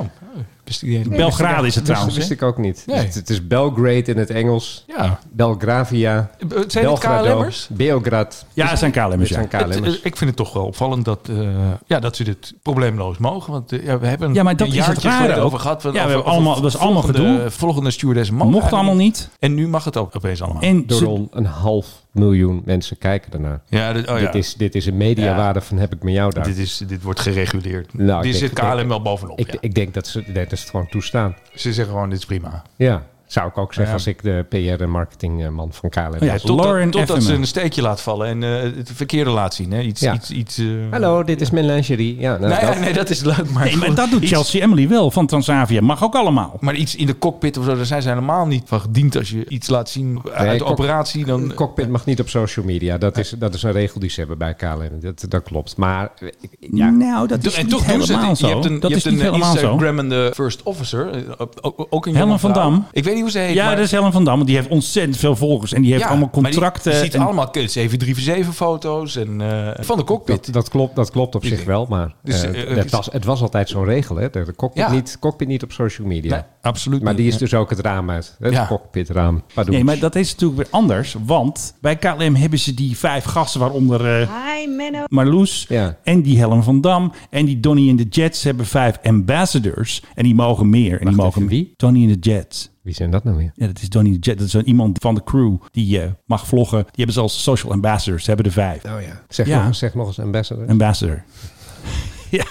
[SPEAKER 1] bestudeer.
[SPEAKER 6] Belgrade is het
[SPEAKER 7] Dat wist,
[SPEAKER 6] trouwens. hè?
[SPEAKER 7] ik ook niet.
[SPEAKER 1] Nee.
[SPEAKER 7] Dus het is Belgrade in het Engels.
[SPEAKER 1] Ja.
[SPEAKER 7] Belgravia.
[SPEAKER 1] Het Eh, zijn het KLM'ers?
[SPEAKER 7] Beograd.
[SPEAKER 6] Ja, het zijn KLM'ers.
[SPEAKER 7] Dit
[SPEAKER 6] Ja.
[SPEAKER 7] zijn KLM'ers.
[SPEAKER 1] Het- eh, ik vind het toch wel opvallend dat, eh, ja, dat ze dit probleemloos mogen. Want eh, ja, we hebben
[SPEAKER 6] Ja, maar dat
[SPEAKER 1] een
[SPEAKER 6] is het
[SPEAKER 1] jaartje
[SPEAKER 6] rare
[SPEAKER 1] geleden
[SPEAKER 6] ook.
[SPEAKER 1] over gehad.
[SPEAKER 6] Ja,
[SPEAKER 1] want
[SPEAKER 6] we
[SPEAKER 1] of-
[SPEAKER 6] hebben
[SPEAKER 1] of-
[SPEAKER 6] allemaal-
[SPEAKER 1] of
[SPEAKER 6] dat is allemaal
[SPEAKER 1] volgende-
[SPEAKER 6] gedoe.
[SPEAKER 1] Volgende stewardess mag
[SPEAKER 6] Mocht
[SPEAKER 1] eigenlijk
[SPEAKER 6] allemaal niet.
[SPEAKER 1] En nu mag het ook opeens allemaal.
[SPEAKER 6] En
[SPEAKER 7] Door
[SPEAKER 6] ze-
[SPEAKER 7] al een half miljoen mensen kijken daarnaar.
[SPEAKER 1] ja, dit, oh ja.
[SPEAKER 7] Dit, is, dit is een mediawaarde van heb ik met jou daar.
[SPEAKER 1] dit, is, dit wordt gereguleerd.
[SPEAKER 7] Nou, ik
[SPEAKER 1] Dit
[SPEAKER 7] denk-
[SPEAKER 1] zit
[SPEAKER 7] ik denk-
[SPEAKER 1] KLM wel bovenop.
[SPEAKER 7] ik,
[SPEAKER 1] ja.
[SPEAKER 7] ik denk dat ze nee, dat is het gewoon toestaan.
[SPEAKER 1] Ze zeggen gewoon, dit is prima.
[SPEAKER 7] Ja. Zou ik ook zeggen als ik de PR- en marketingman van KLM was.
[SPEAKER 1] Oh Ja, totdat, totdat ze een steekje laat vallen en eh, het verkeerde laat zien. Hè? Iets,
[SPEAKER 7] Ja.
[SPEAKER 1] iets, iets, eh,
[SPEAKER 7] Hallo, dit is mijn lingerie. Ja, nou,
[SPEAKER 1] nee, ja, nee, dat is leuk. Maar,
[SPEAKER 6] Nee, maar
[SPEAKER 1] gewoon
[SPEAKER 6] dat doet
[SPEAKER 1] iets-
[SPEAKER 6] Chelsea Emily wel van Transavia. Mag ook allemaal.
[SPEAKER 1] Maar iets in de cockpit of zo, daar zijn ze helemaal niet van gediend. Als je iets laat zien uit de
[SPEAKER 7] cock-
[SPEAKER 1] operatie, dan...
[SPEAKER 7] Een cockpit mag niet op social media. Dat is, dat is een regel die ze hebben bij KLM. Dat, dat klopt. Maar eh, ja,
[SPEAKER 6] Nou, dat
[SPEAKER 1] Doe-
[SPEAKER 6] is
[SPEAKER 1] en
[SPEAKER 6] niet
[SPEAKER 1] toch doen ze het.
[SPEAKER 6] helemaal
[SPEAKER 1] Je
[SPEAKER 6] zo.
[SPEAKER 1] hebt een,
[SPEAKER 6] dat
[SPEAKER 1] je
[SPEAKER 6] is
[SPEAKER 1] hebt
[SPEAKER 6] niet
[SPEAKER 1] een eh,
[SPEAKER 6] helemaal zo.
[SPEAKER 1] Instagrammende first officer. eh, ook- Ook, ook een jonge
[SPEAKER 6] Helen van
[SPEAKER 1] vrouw.
[SPEAKER 6] Dam.
[SPEAKER 1] Ik weet niet hoe ze heet.
[SPEAKER 6] Ja,
[SPEAKER 1] maar,
[SPEAKER 6] dat is Helen van Dam. want Die heeft ontzettend veel volgers. En die heeft
[SPEAKER 1] Ja,
[SPEAKER 6] allemaal
[SPEAKER 1] maar die-
[SPEAKER 6] contracten.
[SPEAKER 1] Je ziet
[SPEAKER 6] en-
[SPEAKER 1] allemaal 737 foto's en, eh, van de cockpit.
[SPEAKER 7] dat, dat, klopt, dat klopt op zich wel. Maar
[SPEAKER 1] Dus,
[SPEAKER 7] eh,
[SPEAKER 1] eh,
[SPEAKER 7] het, was, het was altijd zo'n regel. Hè? De, de cockpit,
[SPEAKER 1] Ja.
[SPEAKER 7] niet, cockpit niet op social media.
[SPEAKER 1] Nee, absoluut
[SPEAKER 7] Maar
[SPEAKER 1] niet.
[SPEAKER 7] die is dus ook het raam uit. Het
[SPEAKER 1] Ja.
[SPEAKER 7] cockpitraam. Pardon.
[SPEAKER 6] Nee, maar dat is natuurlijk weer anders. Want bij KLM hebben ze die vijf gasten, waaronder eh
[SPEAKER 13] Hi Menno.
[SPEAKER 6] Marloes
[SPEAKER 7] Ja.
[SPEAKER 6] en die Helen van Dam. En die Donnie in the Jets hebben vijf ambassadors. En die mogen meer. En die mogen
[SPEAKER 7] even, wie?
[SPEAKER 6] Donnie in the Jets.
[SPEAKER 7] Wie zijn dat nou weer?
[SPEAKER 6] Ja, dat is Donnie in the Jets. Dat is een- iemand van de crew die eh, mag vloggen. Die hebben ze als social ambassadors. Ze hebben er vijf.
[SPEAKER 7] Oh ja. Zeg,
[SPEAKER 6] Ja.
[SPEAKER 7] Nog, eens- zeg nog eens ambassador.
[SPEAKER 6] Ambassador. ja.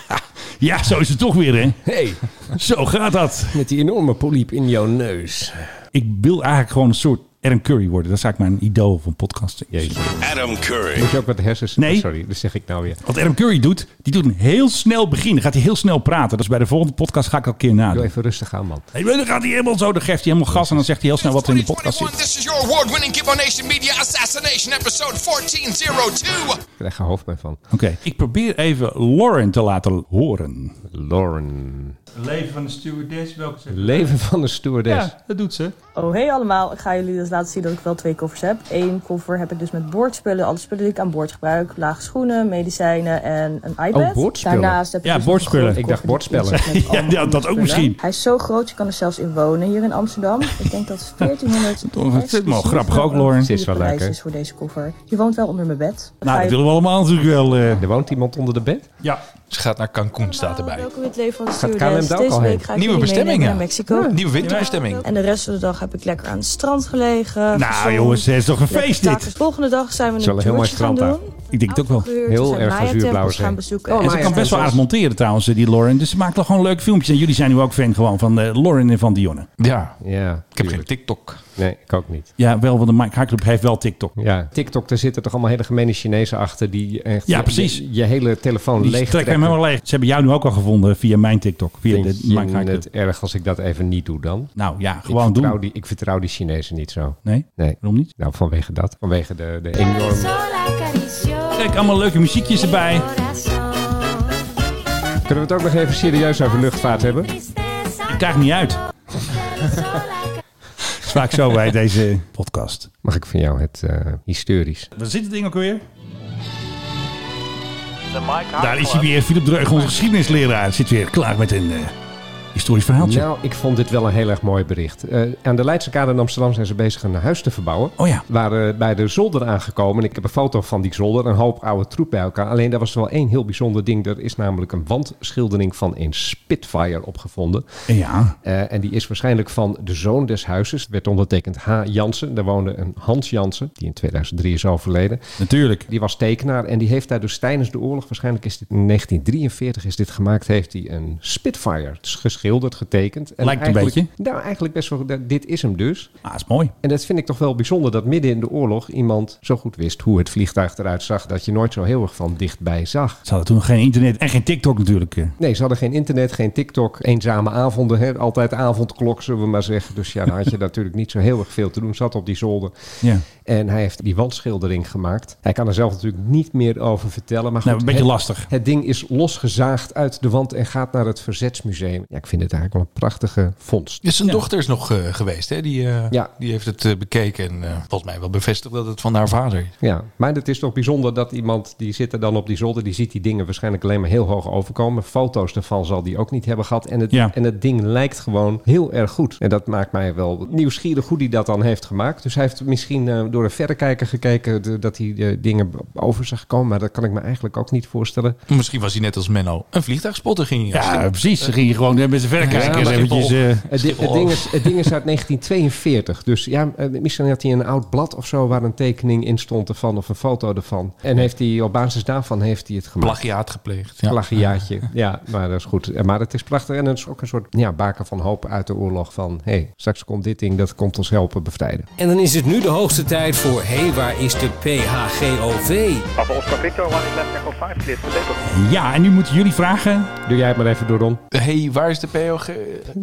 [SPEAKER 6] ja, zo is het toch weer, hè?
[SPEAKER 7] Hey,
[SPEAKER 6] Zo gaat dat.
[SPEAKER 7] met die enorme poliep in jouw neus.
[SPEAKER 6] Ik wil eigenlijk gewoon een soort Adam Curry worden. Dat is eigenlijk mijn idool van podcasting.
[SPEAKER 7] Jeetje.
[SPEAKER 5] Adam Curry.
[SPEAKER 7] Moet je ook wat hersens...
[SPEAKER 6] Nee.
[SPEAKER 7] Sorry, dat zeg ik nou weer.
[SPEAKER 6] Wat Adam Curry doet, die doet een heel snel begin. Dan gaat hij heel snel praten. Dat is bij de volgende podcast ga ik al een keer
[SPEAKER 7] Doe
[SPEAKER 6] nadenken.
[SPEAKER 7] even rustig aan, man.
[SPEAKER 6] Nee, maar dan gaat hij helemaal zo, dan geeft hij helemaal gas en dan zegt hij heel snel wat er in de podcast
[SPEAKER 3] 2021,
[SPEAKER 6] zit.
[SPEAKER 3] This is your award-winning Gibbo Nation Media Assassination Episode 1402.
[SPEAKER 7] Ik krijg er hoofdpijn van.
[SPEAKER 6] Oké, ik probeer even Lauren te laten horen.
[SPEAKER 7] Lauren.
[SPEAKER 6] Leven van de stewardess, welke
[SPEAKER 7] Leven van de stewardess.
[SPEAKER 6] Ja, dat doet ze.
[SPEAKER 2] Oh hey allemaal, ik ga jullie dus laten zien dat ik wel twee koffers heb. Eén koffer heb ik dus met boordspullen, alle spullen die ik aan boord gebruik. Lage schoenen, medicijnen en een iPad.
[SPEAKER 6] Oh,
[SPEAKER 7] boordspullen.
[SPEAKER 2] Daarnaast heb ik
[SPEAKER 6] Ja,
[SPEAKER 2] dus
[SPEAKER 6] boordspullen.
[SPEAKER 2] nog een
[SPEAKER 7] Ik dacht
[SPEAKER 2] koffer die
[SPEAKER 7] bordspellen.
[SPEAKER 2] vol zit met
[SPEAKER 6] Ja,
[SPEAKER 2] allemaal
[SPEAKER 6] ja, dat ook
[SPEAKER 2] spullen.
[SPEAKER 6] misschien.
[SPEAKER 2] Hij is zo groot, je kan er zelfs in wonen hier in Amsterdam. Ik denk dat het 1400
[SPEAKER 6] Toch, het zit wel
[SPEAKER 2] exclusief
[SPEAKER 6] grappig ook,
[SPEAKER 2] euro
[SPEAKER 6] Lauren.
[SPEAKER 2] de
[SPEAKER 7] Het is wel
[SPEAKER 2] prijs
[SPEAKER 7] leuk, hè?
[SPEAKER 2] is voor deze koffer. Je woont wel onder mijn bed.
[SPEAKER 6] Nou, dat willen we allemaal natuurlijk wel. eh,
[SPEAKER 7] Er woont iemand onder de bed?
[SPEAKER 6] ja.
[SPEAKER 1] Ze gaat naar Cancun, staat erbij.
[SPEAKER 2] Welkom in het leven van de
[SPEAKER 7] Gaat KLM
[SPEAKER 2] stewardess.
[SPEAKER 7] daar ook
[SPEAKER 2] Deze
[SPEAKER 7] al heen?
[SPEAKER 2] week ga ik
[SPEAKER 1] Nieuwe
[SPEAKER 2] jullie meenemen
[SPEAKER 1] bestemmingen.
[SPEAKER 2] naar Mexico.
[SPEAKER 1] Nieuwe winterbestemming.
[SPEAKER 2] En de rest van de dag heb ik lekker aan het strand gelegen.
[SPEAKER 6] Nou
[SPEAKER 2] gezond,
[SPEAKER 6] jongens, het is toch een
[SPEAKER 2] lekker
[SPEAKER 6] feest
[SPEAKER 2] takken.
[SPEAKER 6] dit?
[SPEAKER 2] Volgende dag zijn we
[SPEAKER 7] Zal
[SPEAKER 2] een
[SPEAKER 7] een heel mooi
[SPEAKER 2] toertje gaan
[SPEAKER 7] strand
[SPEAKER 2] doen.
[SPEAKER 6] Ik denk het ook wel.
[SPEAKER 2] Afgehuurd,
[SPEAKER 7] Heel
[SPEAKER 2] we zijn
[SPEAKER 7] erg
[SPEAKER 2] Maya
[SPEAKER 7] azuurblauw
[SPEAKER 2] tempels
[SPEAKER 7] zijn.
[SPEAKER 2] gaan bezoeken. En
[SPEAKER 7] Oh,
[SPEAKER 6] En
[SPEAKER 7] maar
[SPEAKER 6] ze
[SPEAKER 7] ja,
[SPEAKER 6] kan best wel aardig monteren trouwens, eh, die Lauren. Dus ze maakt er gewoon leuke filmpjes. En jullie zijn nu ook fan gewoon van eh, Lauren en van Dionne.
[SPEAKER 1] Ja,
[SPEAKER 7] Ja,
[SPEAKER 1] ik heb geen TikTok.
[SPEAKER 7] Nee, ik ook niet.
[SPEAKER 6] Ja, wel, want de Mike High Club heeft wel TikTok.
[SPEAKER 7] Ja, TikTok, daar zitten toch allemaal hele gemene Chinezen achter die echt
[SPEAKER 6] Ja,
[SPEAKER 7] je-
[SPEAKER 6] precies.
[SPEAKER 7] Je, je hele telefoon
[SPEAKER 6] Die
[SPEAKER 7] leeg
[SPEAKER 6] trekken hem
[SPEAKER 7] trekken.
[SPEAKER 6] helemaal leeg. Ze hebben jou nu ook al gevonden via mijn TikTok. Via
[SPEAKER 7] Vind
[SPEAKER 6] de
[SPEAKER 7] je
[SPEAKER 6] Mike High Club.
[SPEAKER 7] het erg als ik dat even niet doe dan?
[SPEAKER 6] Nou ja,
[SPEAKER 7] ik
[SPEAKER 6] gewoon
[SPEAKER 7] vertrouw
[SPEAKER 6] doen.
[SPEAKER 7] Die, ik vertrouw die Chinezen niet zo.
[SPEAKER 6] Nee?
[SPEAKER 7] Nee.
[SPEAKER 6] Waarom niet?
[SPEAKER 7] Nou, vanwege dat. Vanwege de, de enorme...
[SPEAKER 6] Kijk, allemaal leuke muziekjes erbij.
[SPEAKER 7] Kunnen we het ook nog even serieus over luchtvaart hebben?
[SPEAKER 6] Ik krijg niet uit. Dat is vaak zo bij deze podcast.
[SPEAKER 7] Mag ik van jou het eh, historisch?
[SPEAKER 6] Waar zit het ding ook weer? Daar is hij weer, Philip Dreug, onze geschiedenisleraar. Zit weer klaar met een eh, historisch verhaaltje.
[SPEAKER 7] Nou, ik vond dit wel een heel erg mooi bericht. Eh, aan de Leidse Kade in Amsterdam zijn ze bezig een huis te verbouwen.
[SPEAKER 6] Oh ja.
[SPEAKER 7] waren bij de zolder aangekomen. En ik heb een foto van die zolder. Een hoop oude troep bij elkaar. Alleen daar was wel één heel bijzonder ding. Er is namelijk een wandschildering van een Spitfire opgevonden.
[SPEAKER 6] Ja.
[SPEAKER 7] Eh, en die is waarschijnlijk van de zoon des huizes. Het werd ondertekend H. Jansen. Daar woonde een Hans Jansen, die in 2003 is overleden.
[SPEAKER 6] Natuurlijk.
[SPEAKER 7] Die was tekenaar en die heeft daar dus tijdens de oorlog, waarschijnlijk is dit in 1943 is dit gemaakt, heeft hij een Spitfire geschilderd, getekend. En
[SPEAKER 6] Lijkt een
[SPEAKER 7] eigenlijk-
[SPEAKER 6] beetje.
[SPEAKER 7] Nou, eigenlijk best wel, dit is hem dus.
[SPEAKER 6] Ah, is mooi.
[SPEAKER 7] En dat vind ik toch wel bijzonder dat midden in de oorlog iemand zo goed wist hoe het vliegtuig eruit zag dat je nooit zo heel erg van dichtbij zag.
[SPEAKER 6] Ze hadden toen nog geen internet en geen TikTok natuurlijk. eh.
[SPEAKER 7] Nee, ze hadden geen internet, geen TikTok, eenzame avonden, hè? altijd avondklok zullen we maar zeggen. Dus ja, dan had je natuurlijk niet zo heel erg veel te doen, zat op die zolder.
[SPEAKER 6] Ja.
[SPEAKER 7] En hij heeft die wandschildering gemaakt. Hij kan er zelf natuurlijk niet meer over vertellen. Maar goed,
[SPEAKER 6] Nou, een beetje
[SPEAKER 7] het,
[SPEAKER 6] lastig.
[SPEAKER 7] het ding is losgezaagd uit de wand en gaat naar het Verzetsmuseum. Ja, ik vind het eigenlijk wel een prachtige vondst.
[SPEAKER 1] Ja, zijn dochter is nog eh, geweest, hè? Die, eh,
[SPEAKER 7] Ja.
[SPEAKER 1] die heeft het eh, bekeken en eh, volgens mij wel bevestigd dat het van haar vader is.
[SPEAKER 7] Ja, maar het is toch bijzonder dat iemand die zit er dan op die zolder, die ziet die dingen waarschijnlijk alleen maar heel hoog overkomen. Foto's daarvan zal die ook niet hebben gehad. En het,
[SPEAKER 6] Ja.
[SPEAKER 7] en het ding lijkt gewoon heel erg goed. En dat maakt mij wel nieuwsgierig hoe die dat dan heeft gemaakt. Dus hij heeft misschien eh, door een verrekijker gekeken de- dat hij de dingen over zag komen. Maar dat kan ik me eigenlijk ook niet voorstellen.
[SPEAKER 1] Misschien was hij net als Menno een vliegspotter ging hij.
[SPEAKER 6] Ja, precies. Ze gingen gewoon, eh, hebben de verrekijker
[SPEAKER 7] Ja,
[SPEAKER 6] eens
[SPEAKER 7] maar-
[SPEAKER 6] eventjes... eh,
[SPEAKER 7] Het, di- het, ding is, het ding is uit 1942. Dus ja, eh, misschien had hij een oud blad of zo waar een tekening in stond ervan of een foto ervan. En heeft hij op basis daarvan heeft hij het gemaakt.
[SPEAKER 1] Plagiaat gepleegd.
[SPEAKER 7] Ja.
[SPEAKER 1] Ja.
[SPEAKER 7] Plagiaatje. Ja, maar dat is goed. Eh, Maar het is prachtig. En het is ook een soort ja, baken van hoop uit de oorlog. Van hé, hey, straks komt dit ding, dat komt ons helpen bevrijden.
[SPEAKER 9] En dan is het nu de hoogste tijd voor... Hé, hey, waar is de PHGOV?
[SPEAKER 14] Papa Oscar Victor, one is left echo 5, clear for takeoff.
[SPEAKER 6] eh, Ja, en nu moeten jullie vragen.
[SPEAKER 7] Doe jij het maar even door, Ron.
[SPEAKER 1] Eh, hey, waar is de POG?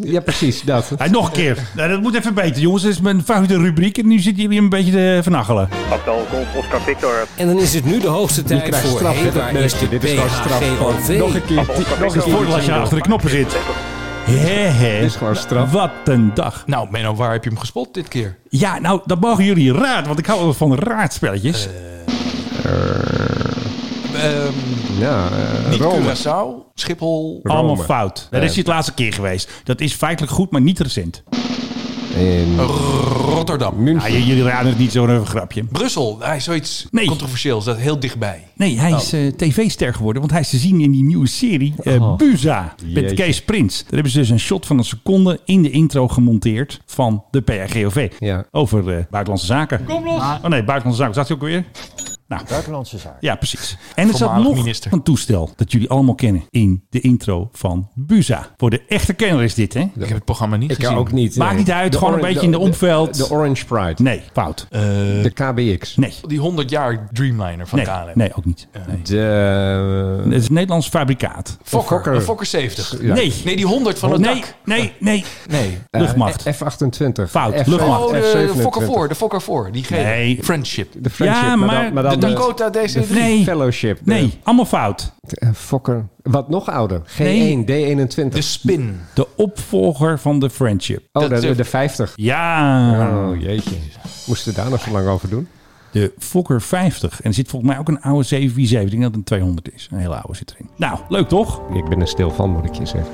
[SPEAKER 7] Ja, precies, dat.
[SPEAKER 6] Hey, nog een keer. Nou, dat moet even beter, jongens. Dit is mijn favoriete rubriek en nu zitten jullie een beetje te vernachelen.
[SPEAKER 14] Hotel Golf Oscar Victor.
[SPEAKER 9] En dan is het nu de hoogste
[SPEAKER 6] Je
[SPEAKER 9] tijd
[SPEAKER 6] krijgt
[SPEAKER 9] voor...
[SPEAKER 6] straf,
[SPEAKER 9] Hé,
[SPEAKER 6] hè, dat
[SPEAKER 9] waar
[SPEAKER 6] merk
[SPEAKER 9] is
[SPEAKER 6] je.
[SPEAKER 9] de
[SPEAKER 6] Dit is gewoon straf.
[SPEAKER 9] PHGOV?
[SPEAKER 6] Nog
[SPEAKER 7] Oh,
[SPEAKER 6] een keer.
[SPEAKER 9] Papa Oscar
[SPEAKER 6] Nog
[SPEAKER 9] Victor.
[SPEAKER 6] eens voordeel als je achter de knoppen zit. Hé, hé. Wat een dag.
[SPEAKER 1] Nou, Menno, waar heb je hem gespot dit keer?
[SPEAKER 6] Ja, nou, dat mogen jullie raad, want ik hou wel van raadspelletjes.
[SPEAKER 1] Ehm,
[SPEAKER 7] ja, eh,
[SPEAKER 1] niet
[SPEAKER 6] Rome.
[SPEAKER 1] Curaçao, Schiphol.
[SPEAKER 6] Allemaal fout. Dat is
[SPEAKER 1] Eh,
[SPEAKER 6] dit laatste keer geweest. Dat is feitelijk goed, maar niet recent.
[SPEAKER 1] Rotterdam.
[SPEAKER 6] Ja, j- jullie raden het niet zo'n grapje.
[SPEAKER 1] Brussel, hij is zoiets controversieels, dat heel dichtbij.
[SPEAKER 6] Nee, hij is eh, tv-ster geworden, want hij is te zien in die nieuwe serie eh,
[SPEAKER 1] Oh.
[SPEAKER 6] Buza met
[SPEAKER 1] Jeetje.
[SPEAKER 6] Kees Prins. Daar hebben ze dus een shot van een seconde in de intro gemonteerd van de PRGOV. Over eh, buitenlandse zaken.
[SPEAKER 15] Kom los.
[SPEAKER 6] Oh nee, buitenlandse zaken, zat hij ook weer? Nou.
[SPEAKER 15] Buitenlandse zaken.
[SPEAKER 6] Ja, precies. En er zat
[SPEAKER 15] Voormalig
[SPEAKER 6] nog
[SPEAKER 15] minister.
[SPEAKER 6] een toestel dat jullie allemaal kennen in de intro van Buza. Voor de echte kenner is dit, hè? Ik
[SPEAKER 1] heb het programma niet
[SPEAKER 7] Ik gezien. ook niet,
[SPEAKER 6] Maakt
[SPEAKER 7] nee.
[SPEAKER 6] niet uit,
[SPEAKER 7] De
[SPEAKER 6] gewoon een
[SPEAKER 7] oran-
[SPEAKER 6] beetje in de
[SPEAKER 7] de- de-
[SPEAKER 6] omveld.
[SPEAKER 7] de Orange Pride.
[SPEAKER 6] Nee, fout.
[SPEAKER 7] de KBX.
[SPEAKER 6] Nee.
[SPEAKER 1] Die 100 jaar Dreamliner van
[SPEAKER 6] nee,
[SPEAKER 1] KLM.
[SPEAKER 6] nee, ook niet. Nee. Het is een Nederlands fabrikaat.
[SPEAKER 1] Fokker, een Fokker 70.
[SPEAKER 6] Ja. Nee.
[SPEAKER 1] nee, die 100 van het
[SPEAKER 6] Nee,
[SPEAKER 1] dak.
[SPEAKER 6] nee, nee.
[SPEAKER 1] Nee.
[SPEAKER 7] Eh,
[SPEAKER 6] Luchtmacht.
[SPEAKER 7] F28.
[SPEAKER 6] Fout,
[SPEAKER 7] F-
[SPEAKER 6] luchtmacht.
[SPEAKER 1] Oh, de,
[SPEAKER 7] F27.
[SPEAKER 1] de Fokker 4, de Fokker 4, die gele.
[SPEAKER 6] Nee.
[SPEAKER 1] Friendship.
[SPEAKER 7] De Friendship,
[SPEAKER 6] Ja,
[SPEAKER 7] maar,
[SPEAKER 6] maar-
[SPEAKER 7] dan, maar dan
[SPEAKER 1] de Dakota
[SPEAKER 7] met-
[SPEAKER 1] DC.
[SPEAKER 7] de
[SPEAKER 6] Nee.
[SPEAKER 7] Fellowship. de-
[SPEAKER 6] Nee, allemaal fout.
[SPEAKER 7] eh, Fokker. Wat nog ouder? G1,
[SPEAKER 6] Nee.
[SPEAKER 7] D21.
[SPEAKER 1] De Spin. eh,
[SPEAKER 6] De opvolger van de Friendship.
[SPEAKER 7] Oh, de, de, de 50.
[SPEAKER 6] Ja.
[SPEAKER 7] Oh, jeetje. Moesten we daar nog zo lang over doen?
[SPEAKER 6] De Fokker 50. En er zit volgens mij ook een oude 747. Ik denk dat het een 200 is. Een hele oude zit erin. Nou, leuk toch?
[SPEAKER 7] Ik ben er stil van, moet ik je zeggen.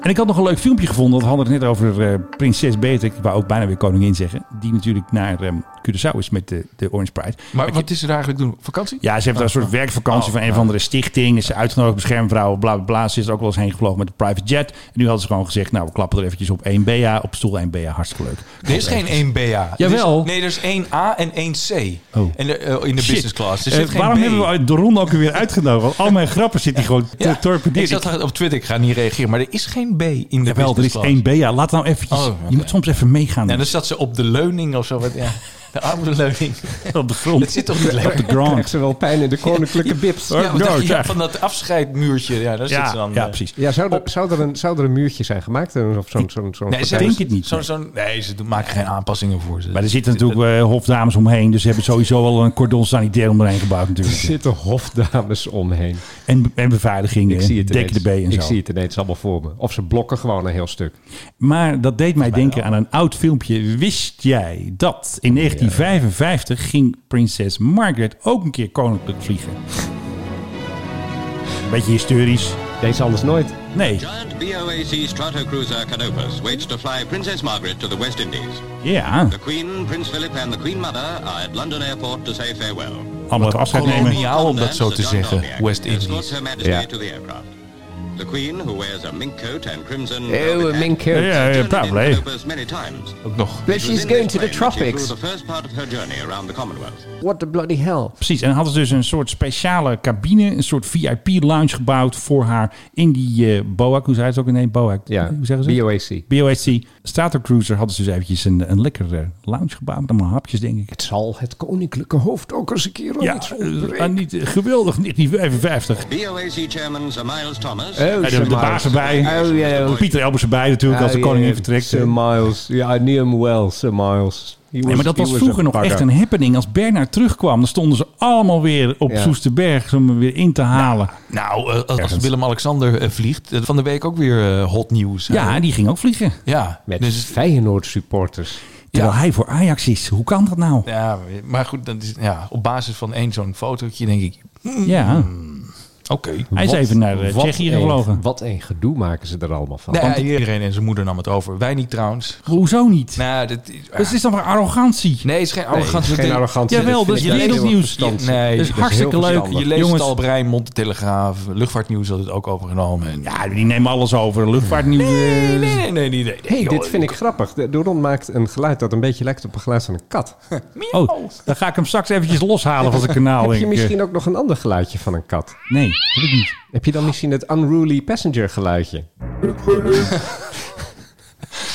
[SPEAKER 6] En ik had nog een leuk filmpje gevonden. Dat hadden we het net over eh, prinses Beatrix. Ik wou ook bijna weer koningin zeggen. Die natuurlijk naar eh, Curaçao is met de, de Orange Pride.
[SPEAKER 1] Maar wat is er eigenlijk doen? Vakantie?
[SPEAKER 6] Ja, ze hebben daar
[SPEAKER 1] Oh,
[SPEAKER 6] een soort werkvakantie van een of andere stichting. Is ze uitgenodigd, beschermvrouwen, bla bla bla. Ze is er ook wel eens heen gevlogen met een private jet. En nu hadden ze gewoon gezegd, nou, we klappen er eventjes op 1BA, op stoel 1BA. Hartstikke leuk.
[SPEAKER 1] Er is geen 1BA. Er is-
[SPEAKER 6] Jawel.
[SPEAKER 1] nee, er is 1A en 1C.
[SPEAKER 6] Oh.
[SPEAKER 1] En de, eh, in de
[SPEAKER 6] Shit.
[SPEAKER 1] business class. Er
[SPEAKER 6] Eh,
[SPEAKER 1] zit geen
[SPEAKER 6] waarom
[SPEAKER 1] B.
[SPEAKER 6] hebben we de ronde ook weer uitgenodigd? Want al mijn grappen zitten hier gewoon
[SPEAKER 1] Ja,
[SPEAKER 6] te torpedeerd.
[SPEAKER 1] Ik zat op Twitter, ik ga niet reageren. Maar er is geen B in de
[SPEAKER 6] Jawel, er
[SPEAKER 1] business
[SPEAKER 6] is
[SPEAKER 1] class.
[SPEAKER 6] 1BA. Laat nou eventjes...
[SPEAKER 1] Oh, oké.
[SPEAKER 6] Je moet soms even meegaan.
[SPEAKER 1] En dan zat ze op de leuning of zo. Wat, ja. De arme leuning.
[SPEAKER 6] op de grond.
[SPEAKER 1] Dat zit toch niet lekker?
[SPEAKER 6] Op de grond. Oh, nou,
[SPEAKER 7] Krijgt ze wel pijn in de koninklijke bips.
[SPEAKER 1] Ja, wat dacht je? Ja, van dat afscheidmuurtje. Ja, daar zit ze dan. eh.
[SPEAKER 7] Ja, zou er, zou, er een, zou er een muurtje zijn gemaakt? Of zo'n zo'n zo'n
[SPEAKER 1] Nee, ze
[SPEAKER 7] partij-
[SPEAKER 6] het niet.
[SPEAKER 1] Zo, zo, nee, ze doen- maken geen aanpassingen voor ze.
[SPEAKER 6] Maar er zitten natuurlijk eh, hofdames omheen. Dus ze hebben sowieso al een cordon sanitair om erheen gebouwd
[SPEAKER 7] Er
[SPEAKER 6] natuurlijk.
[SPEAKER 7] zitten hofdames omheen.
[SPEAKER 6] En, en beveiliging.
[SPEAKER 7] Ik
[SPEAKER 6] eh,
[SPEAKER 7] zie het
[SPEAKER 6] dek de
[SPEAKER 7] ineens.
[SPEAKER 6] B en
[SPEAKER 7] Ik
[SPEAKER 6] zo.
[SPEAKER 7] zie het ineens allemaal voor me. Of ze blokken gewoon een heel stuk.
[SPEAKER 6] Maar dat deed mij denken aan een oud filmpje. Wist jij dat in 1955 ging prinses Margaret ook een keer koninklijk vliegen? Beetje historisch.
[SPEAKER 7] Deze anders nooit.
[SPEAKER 9] Oh,
[SPEAKER 6] Nee.
[SPEAKER 16] Giant BOAC Stratocruiser Canopus waits to fly Princess Margaret to the West Indies.
[SPEAKER 6] Ja.
[SPEAKER 16] The Queen, Prince Philip and the Queen Mother are at London Airport to say farewell.
[SPEAKER 6] Allemaal even afscheid nemen.
[SPEAKER 1] Koloniaal om dat zo te zeggen. West Indies.
[SPEAKER 16] Her Majesty
[SPEAKER 1] Ja.
[SPEAKER 16] to the aircraft. The Queen, who wears a mink coat and crimson...
[SPEAKER 7] Oh,
[SPEAKER 16] velvet
[SPEAKER 7] a
[SPEAKER 16] hat,
[SPEAKER 7] mink coat. Yeah, yeah,
[SPEAKER 16] turned in
[SPEAKER 7] probably.
[SPEAKER 16] Canopus many times.
[SPEAKER 1] Ook nog.
[SPEAKER 16] It
[SPEAKER 7] But
[SPEAKER 16] was
[SPEAKER 7] she's
[SPEAKER 16] in
[SPEAKER 7] going
[SPEAKER 16] this
[SPEAKER 7] to the
[SPEAKER 16] plane that she flew
[SPEAKER 7] tropics.
[SPEAKER 16] the first part of her journey around the Commonwealth.
[SPEAKER 7] What the bloody hell.
[SPEAKER 6] Precies, en hadden ze dus een soort speciale cabine, een soort VIP-lounge gebouwd voor haar in die eh BOAC. Hoe zei het ook? Nee, BOAC.
[SPEAKER 7] Ja,
[SPEAKER 6] Hoe zeggen ze?
[SPEAKER 7] BOAC.
[SPEAKER 6] BOAC. Stratocruiser hadden ze dus eventjes een, een lekkere lounge gebouwd met allemaal hapjes, denk ik.
[SPEAKER 7] Het zal het koninklijke hoofd ook eens een keer
[SPEAKER 6] Ja,
[SPEAKER 7] iets
[SPEAKER 6] eh,
[SPEAKER 7] ontbreken.
[SPEAKER 6] ah, niet, eh, geweldig, 1955.
[SPEAKER 16] BOAC Chairman Sir Miles Thomas...
[SPEAKER 7] Oh,
[SPEAKER 6] Ja, de,
[SPEAKER 7] Sir
[SPEAKER 6] de
[SPEAKER 7] Miles.
[SPEAKER 6] baas erbij.
[SPEAKER 7] Oh, ja.
[SPEAKER 6] Pieter Elbers erbij natuurlijk, als de
[SPEAKER 7] Ah,
[SPEAKER 6] koningin
[SPEAKER 7] ja,
[SPEAKER 6] vertrekt. eh.
[SPEAKER 7] Sir Miles. Ja, I knew him well, Sir Miles. He
[SPEAKER 6] Nee, maar dat
[SPEAKER 7] he
[SPEAKER 6] was
[SPEAKER 7] a
[SPEAKER 6] vroeger nog
[SPEAKER 7] bugger.
[SPEAKER 6] echt een happening. Als Bernard terugkwam, dan stonden ze allemaal weer op
[SPEAKER 7] Ja.
[SPEAKER 6] Soesterberg om hem weer in te halen.
[SPEAKER 1] Nou, eh, als Willem-Alexander eh, vliegt, eh, van de week ook weer eh, hot nieuws.
[SPEAKER 6] ja, die ging ook vliegen.
[SPEAKER 1] Ja, Dus,
[SPEAKER 7] Met
[SPEAKER 6] Dus-
[SPEAKER 7] Feyenoord supporters.
[SPEAKER 6] Terwijl hij voor Ajax is. Hoe kan dat nou?
[SPEAKER 1] ja, maar goed, dat is, ja, op basis van één zo'n fotootje denk ik...
[SPEAKER 6] Ja. Hij is
[SPEAKER 7] Wat-
[SPEAKER 6] even naar eh,
[SPEAKER 7] wat
[SPEAKER 6] Tsjechië
[SPEAKER 7] een-
[SPEAKER 6] gevlogen.
[SPEAKER 7] Wat een gedoe maken ze er allemaal van.
[SPEAKER 6] Nee,
[SPEAKER 7] Want-
[SPEAKER 1] Ja, iedereen en zijn moeder nam het over. Wij niet trouwens.
[SPEAKER 6] Hoezo niet?
[SPEAKER 1] Nou, dat is,
[SPEAKER 6] Dus het is dan maar arrogantie.
[SPEAKER 1] Nee, het is geen
[SPEAKER 6] Nee, het is
[SPEAKER 1] arrogantie.
[SPEAKER 6] geen
[SPEAKER 1] Dat-
[SPEAKER 6] arrogantie. Jawel, dus
[SPEAKER 1] vind
[SPEAKER 6] dat
[SPEAKER 1] ik
[SPEAKER 6] is
[SPEAKER 1] juist heel
[SPEAKER 6] wereldnieuws.
[SPEAKER 1] verstandig.
[SPEAKER 6] Nee,
[SPEAKER 1] dat
[SPEAKER 6] dat
[SPEAKER 1] is
[SPEAKER 6] is
[SPEAKER 1] hartstikke
[SPEAKER 6] heel
[SPEAKER 1] leuk.
[SPEAKER 6] verstandig.
[SPEAKER 1] Je leest het
[SPEAKER 6] Jongens.
[SPEAKER 1] al op Rijnmond, de Telegraaf, Luchtvaartnieuws had het ook overgenomen. En
[SPEAKER 6] Ja, die nemen alles over. Luchtvaartnieuws. eh,
[SPEAKER 1] Nee, nee, nee, nee. nee, nee.
[SPEAKER 7] Hey,
[SPEAKER 1] Joh,
[SPEAKER 7] dit vind ik grappig. De, de Ron maakt een geluid dat een beetje lijkt op een geluid van een kat.
[SPEAKER 6] Oh, dan ga ik hem straks eventjes loshalen van zijn kanaal.
[SPEAKER 7] Heb
[SPEAKER 6] denk
[SPEAKER 7] je
[SPEAKER 6] ik. eh.
[SPEAKER 7] misschien ook nog een ander geluidje van een kat?
[SPEAKER 6] Nee, heb ik niet.
[SPEAKER 7] Heb je dan misschien het unruly passenger geluidje?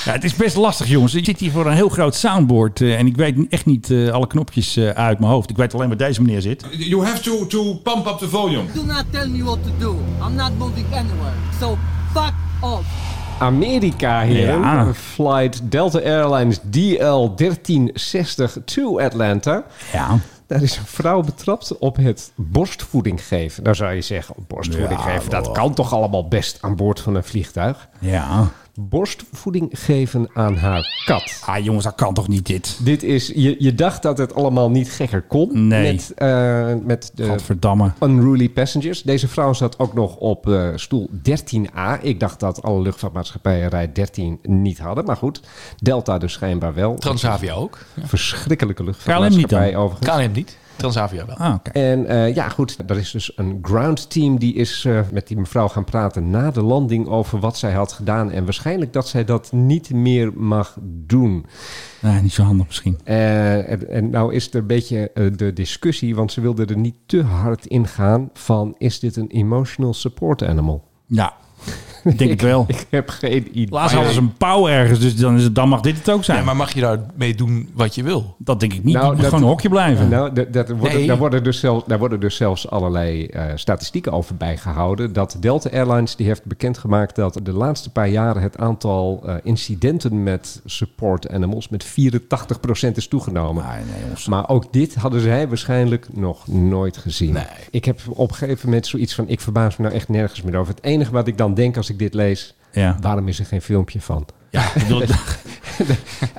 [SPEAKER 6] Ja, het is best lastig, jongens. Ik zit hier voor een heel groot soundboard eh, en ik weet echt niet eh, alle knopjes eh, uit mijn hoofd. Ik weet alleen waar deze meneer zit.
[SPEAKER 15] You have to, to pump up the volume.
[SPEAKER 17] Do not tell me what to do. I'm not moving anywhere. So fuck off.
[SPEAKER 7] Amerika, heren.
[SPEAKER 6] Ja.
[SPEAKER 7] Flight Delta Airlines DL 1360 to Atlanta.
[SPEAKER 6] Ja.
[SPEAKER 7] Daar is een vrouw betrapt op het borstvoeding geven. Nou zou je zeggen, borstvoeding
[SPEAKER 6] Ja,
[SPEAKER 7] geven, dat
[SPEAKER 6] wel.
[SPEAKER 7] kan toch allemaal best aan boord van een vliegtuig?
[SPEAKER 6] Ja.
[SPEAKER 7] Borstvoeding geven aan haar kat.
[SPEAKER 6] Ah jongens, dat kan toch niet dit?
[SPEAKER 7] Dit is, je, je dacht dat het allemaal niet gekker kon.
[SPEAKER 6] Nee.
[SPEAKER 7] Met, eh, met de
[SPEAKER 6] Godverdamme.
[SPEAKER 7] Unruly Passengers. Deze vrouw zat ook nog op eh, stoel 13A. Ik dacht dat alle luchtvaartmaatschappijen rij 13 niet hadden. Maar goed, Delta dus schijnbaar wel.
[SPEAKER 1] Transavia ook.
[SPEAKER 7] Verschrikkelijke
[SPEAKER 1] KLM niet
[SPEAKER 7] luchtvaartmaatschappij
[SPEAKER 1] dan.
[SPEAKER 7] overigens.
[SPEAKER 1] KLM niet. Transavia wel.
[SPEAKER 6] Ah,
[SPEAKER 7] En eh, ja, goed, er is dus een ground team die is eh, met die mevrouw gaan praten na de landing over wat zij had gedaan. En waarschijnlijk dat zij dat niet meer mag doen.
[SPEAKER 6] Nee, niet zo handig misschien.
[SPEAKER 7] Eh, en, en nou is er een beetje eh, de discussie, want ze wilden er niet te hard in gaan van is dit een emotional support animal?
[SPEAKER 6] Ja, ik denk het wel.
[SPEAKER 7] Ik heb geen idee.
[SPEAKER 6] Laatst hadden ze een pauw ergens, dus dan, is het, dan mag dit het ook zijn.
[SPEAKER 1] Nee, maar mag je daarmee doen wat je wil?
[SPEAKER 6] Dat denk ik niet.
[SPEAKER 7] Nou,
[SPEAKER 6] die moet
[SPEAKER 7] dat-
[SPEAKER 6] gewoon een hokje blijven.
[SPEAKER 7] Nou, dat, dat worden,
[SPEAKER 6] Nee.
[SPEAKER 7] daar, worden dus zelfs, daar worden dus zelfs allerlei eh, statistieken over bijgehouden. Dat Delta Airlines die heeft bekendgemaakt dat de laatste paar jaren het aantal eh, incidenten met support animals met 84% is toegenomen.
[SPEAKER 6] Ah,
[SPEAKER 7] maar ook dit hadden zij waarschijnlijk nog nooit gezien. Ik heb op een gegeven moment zoiets van, ik verbaas me nou echt nergens meer over. Het enige wat ik dan denk als ik dit lees,
[SPEAKER 6] Ja.
[SPEAKER 7] waarom is er geen filmpje van?
[SPEAKER 6] Ja, ik bedoel,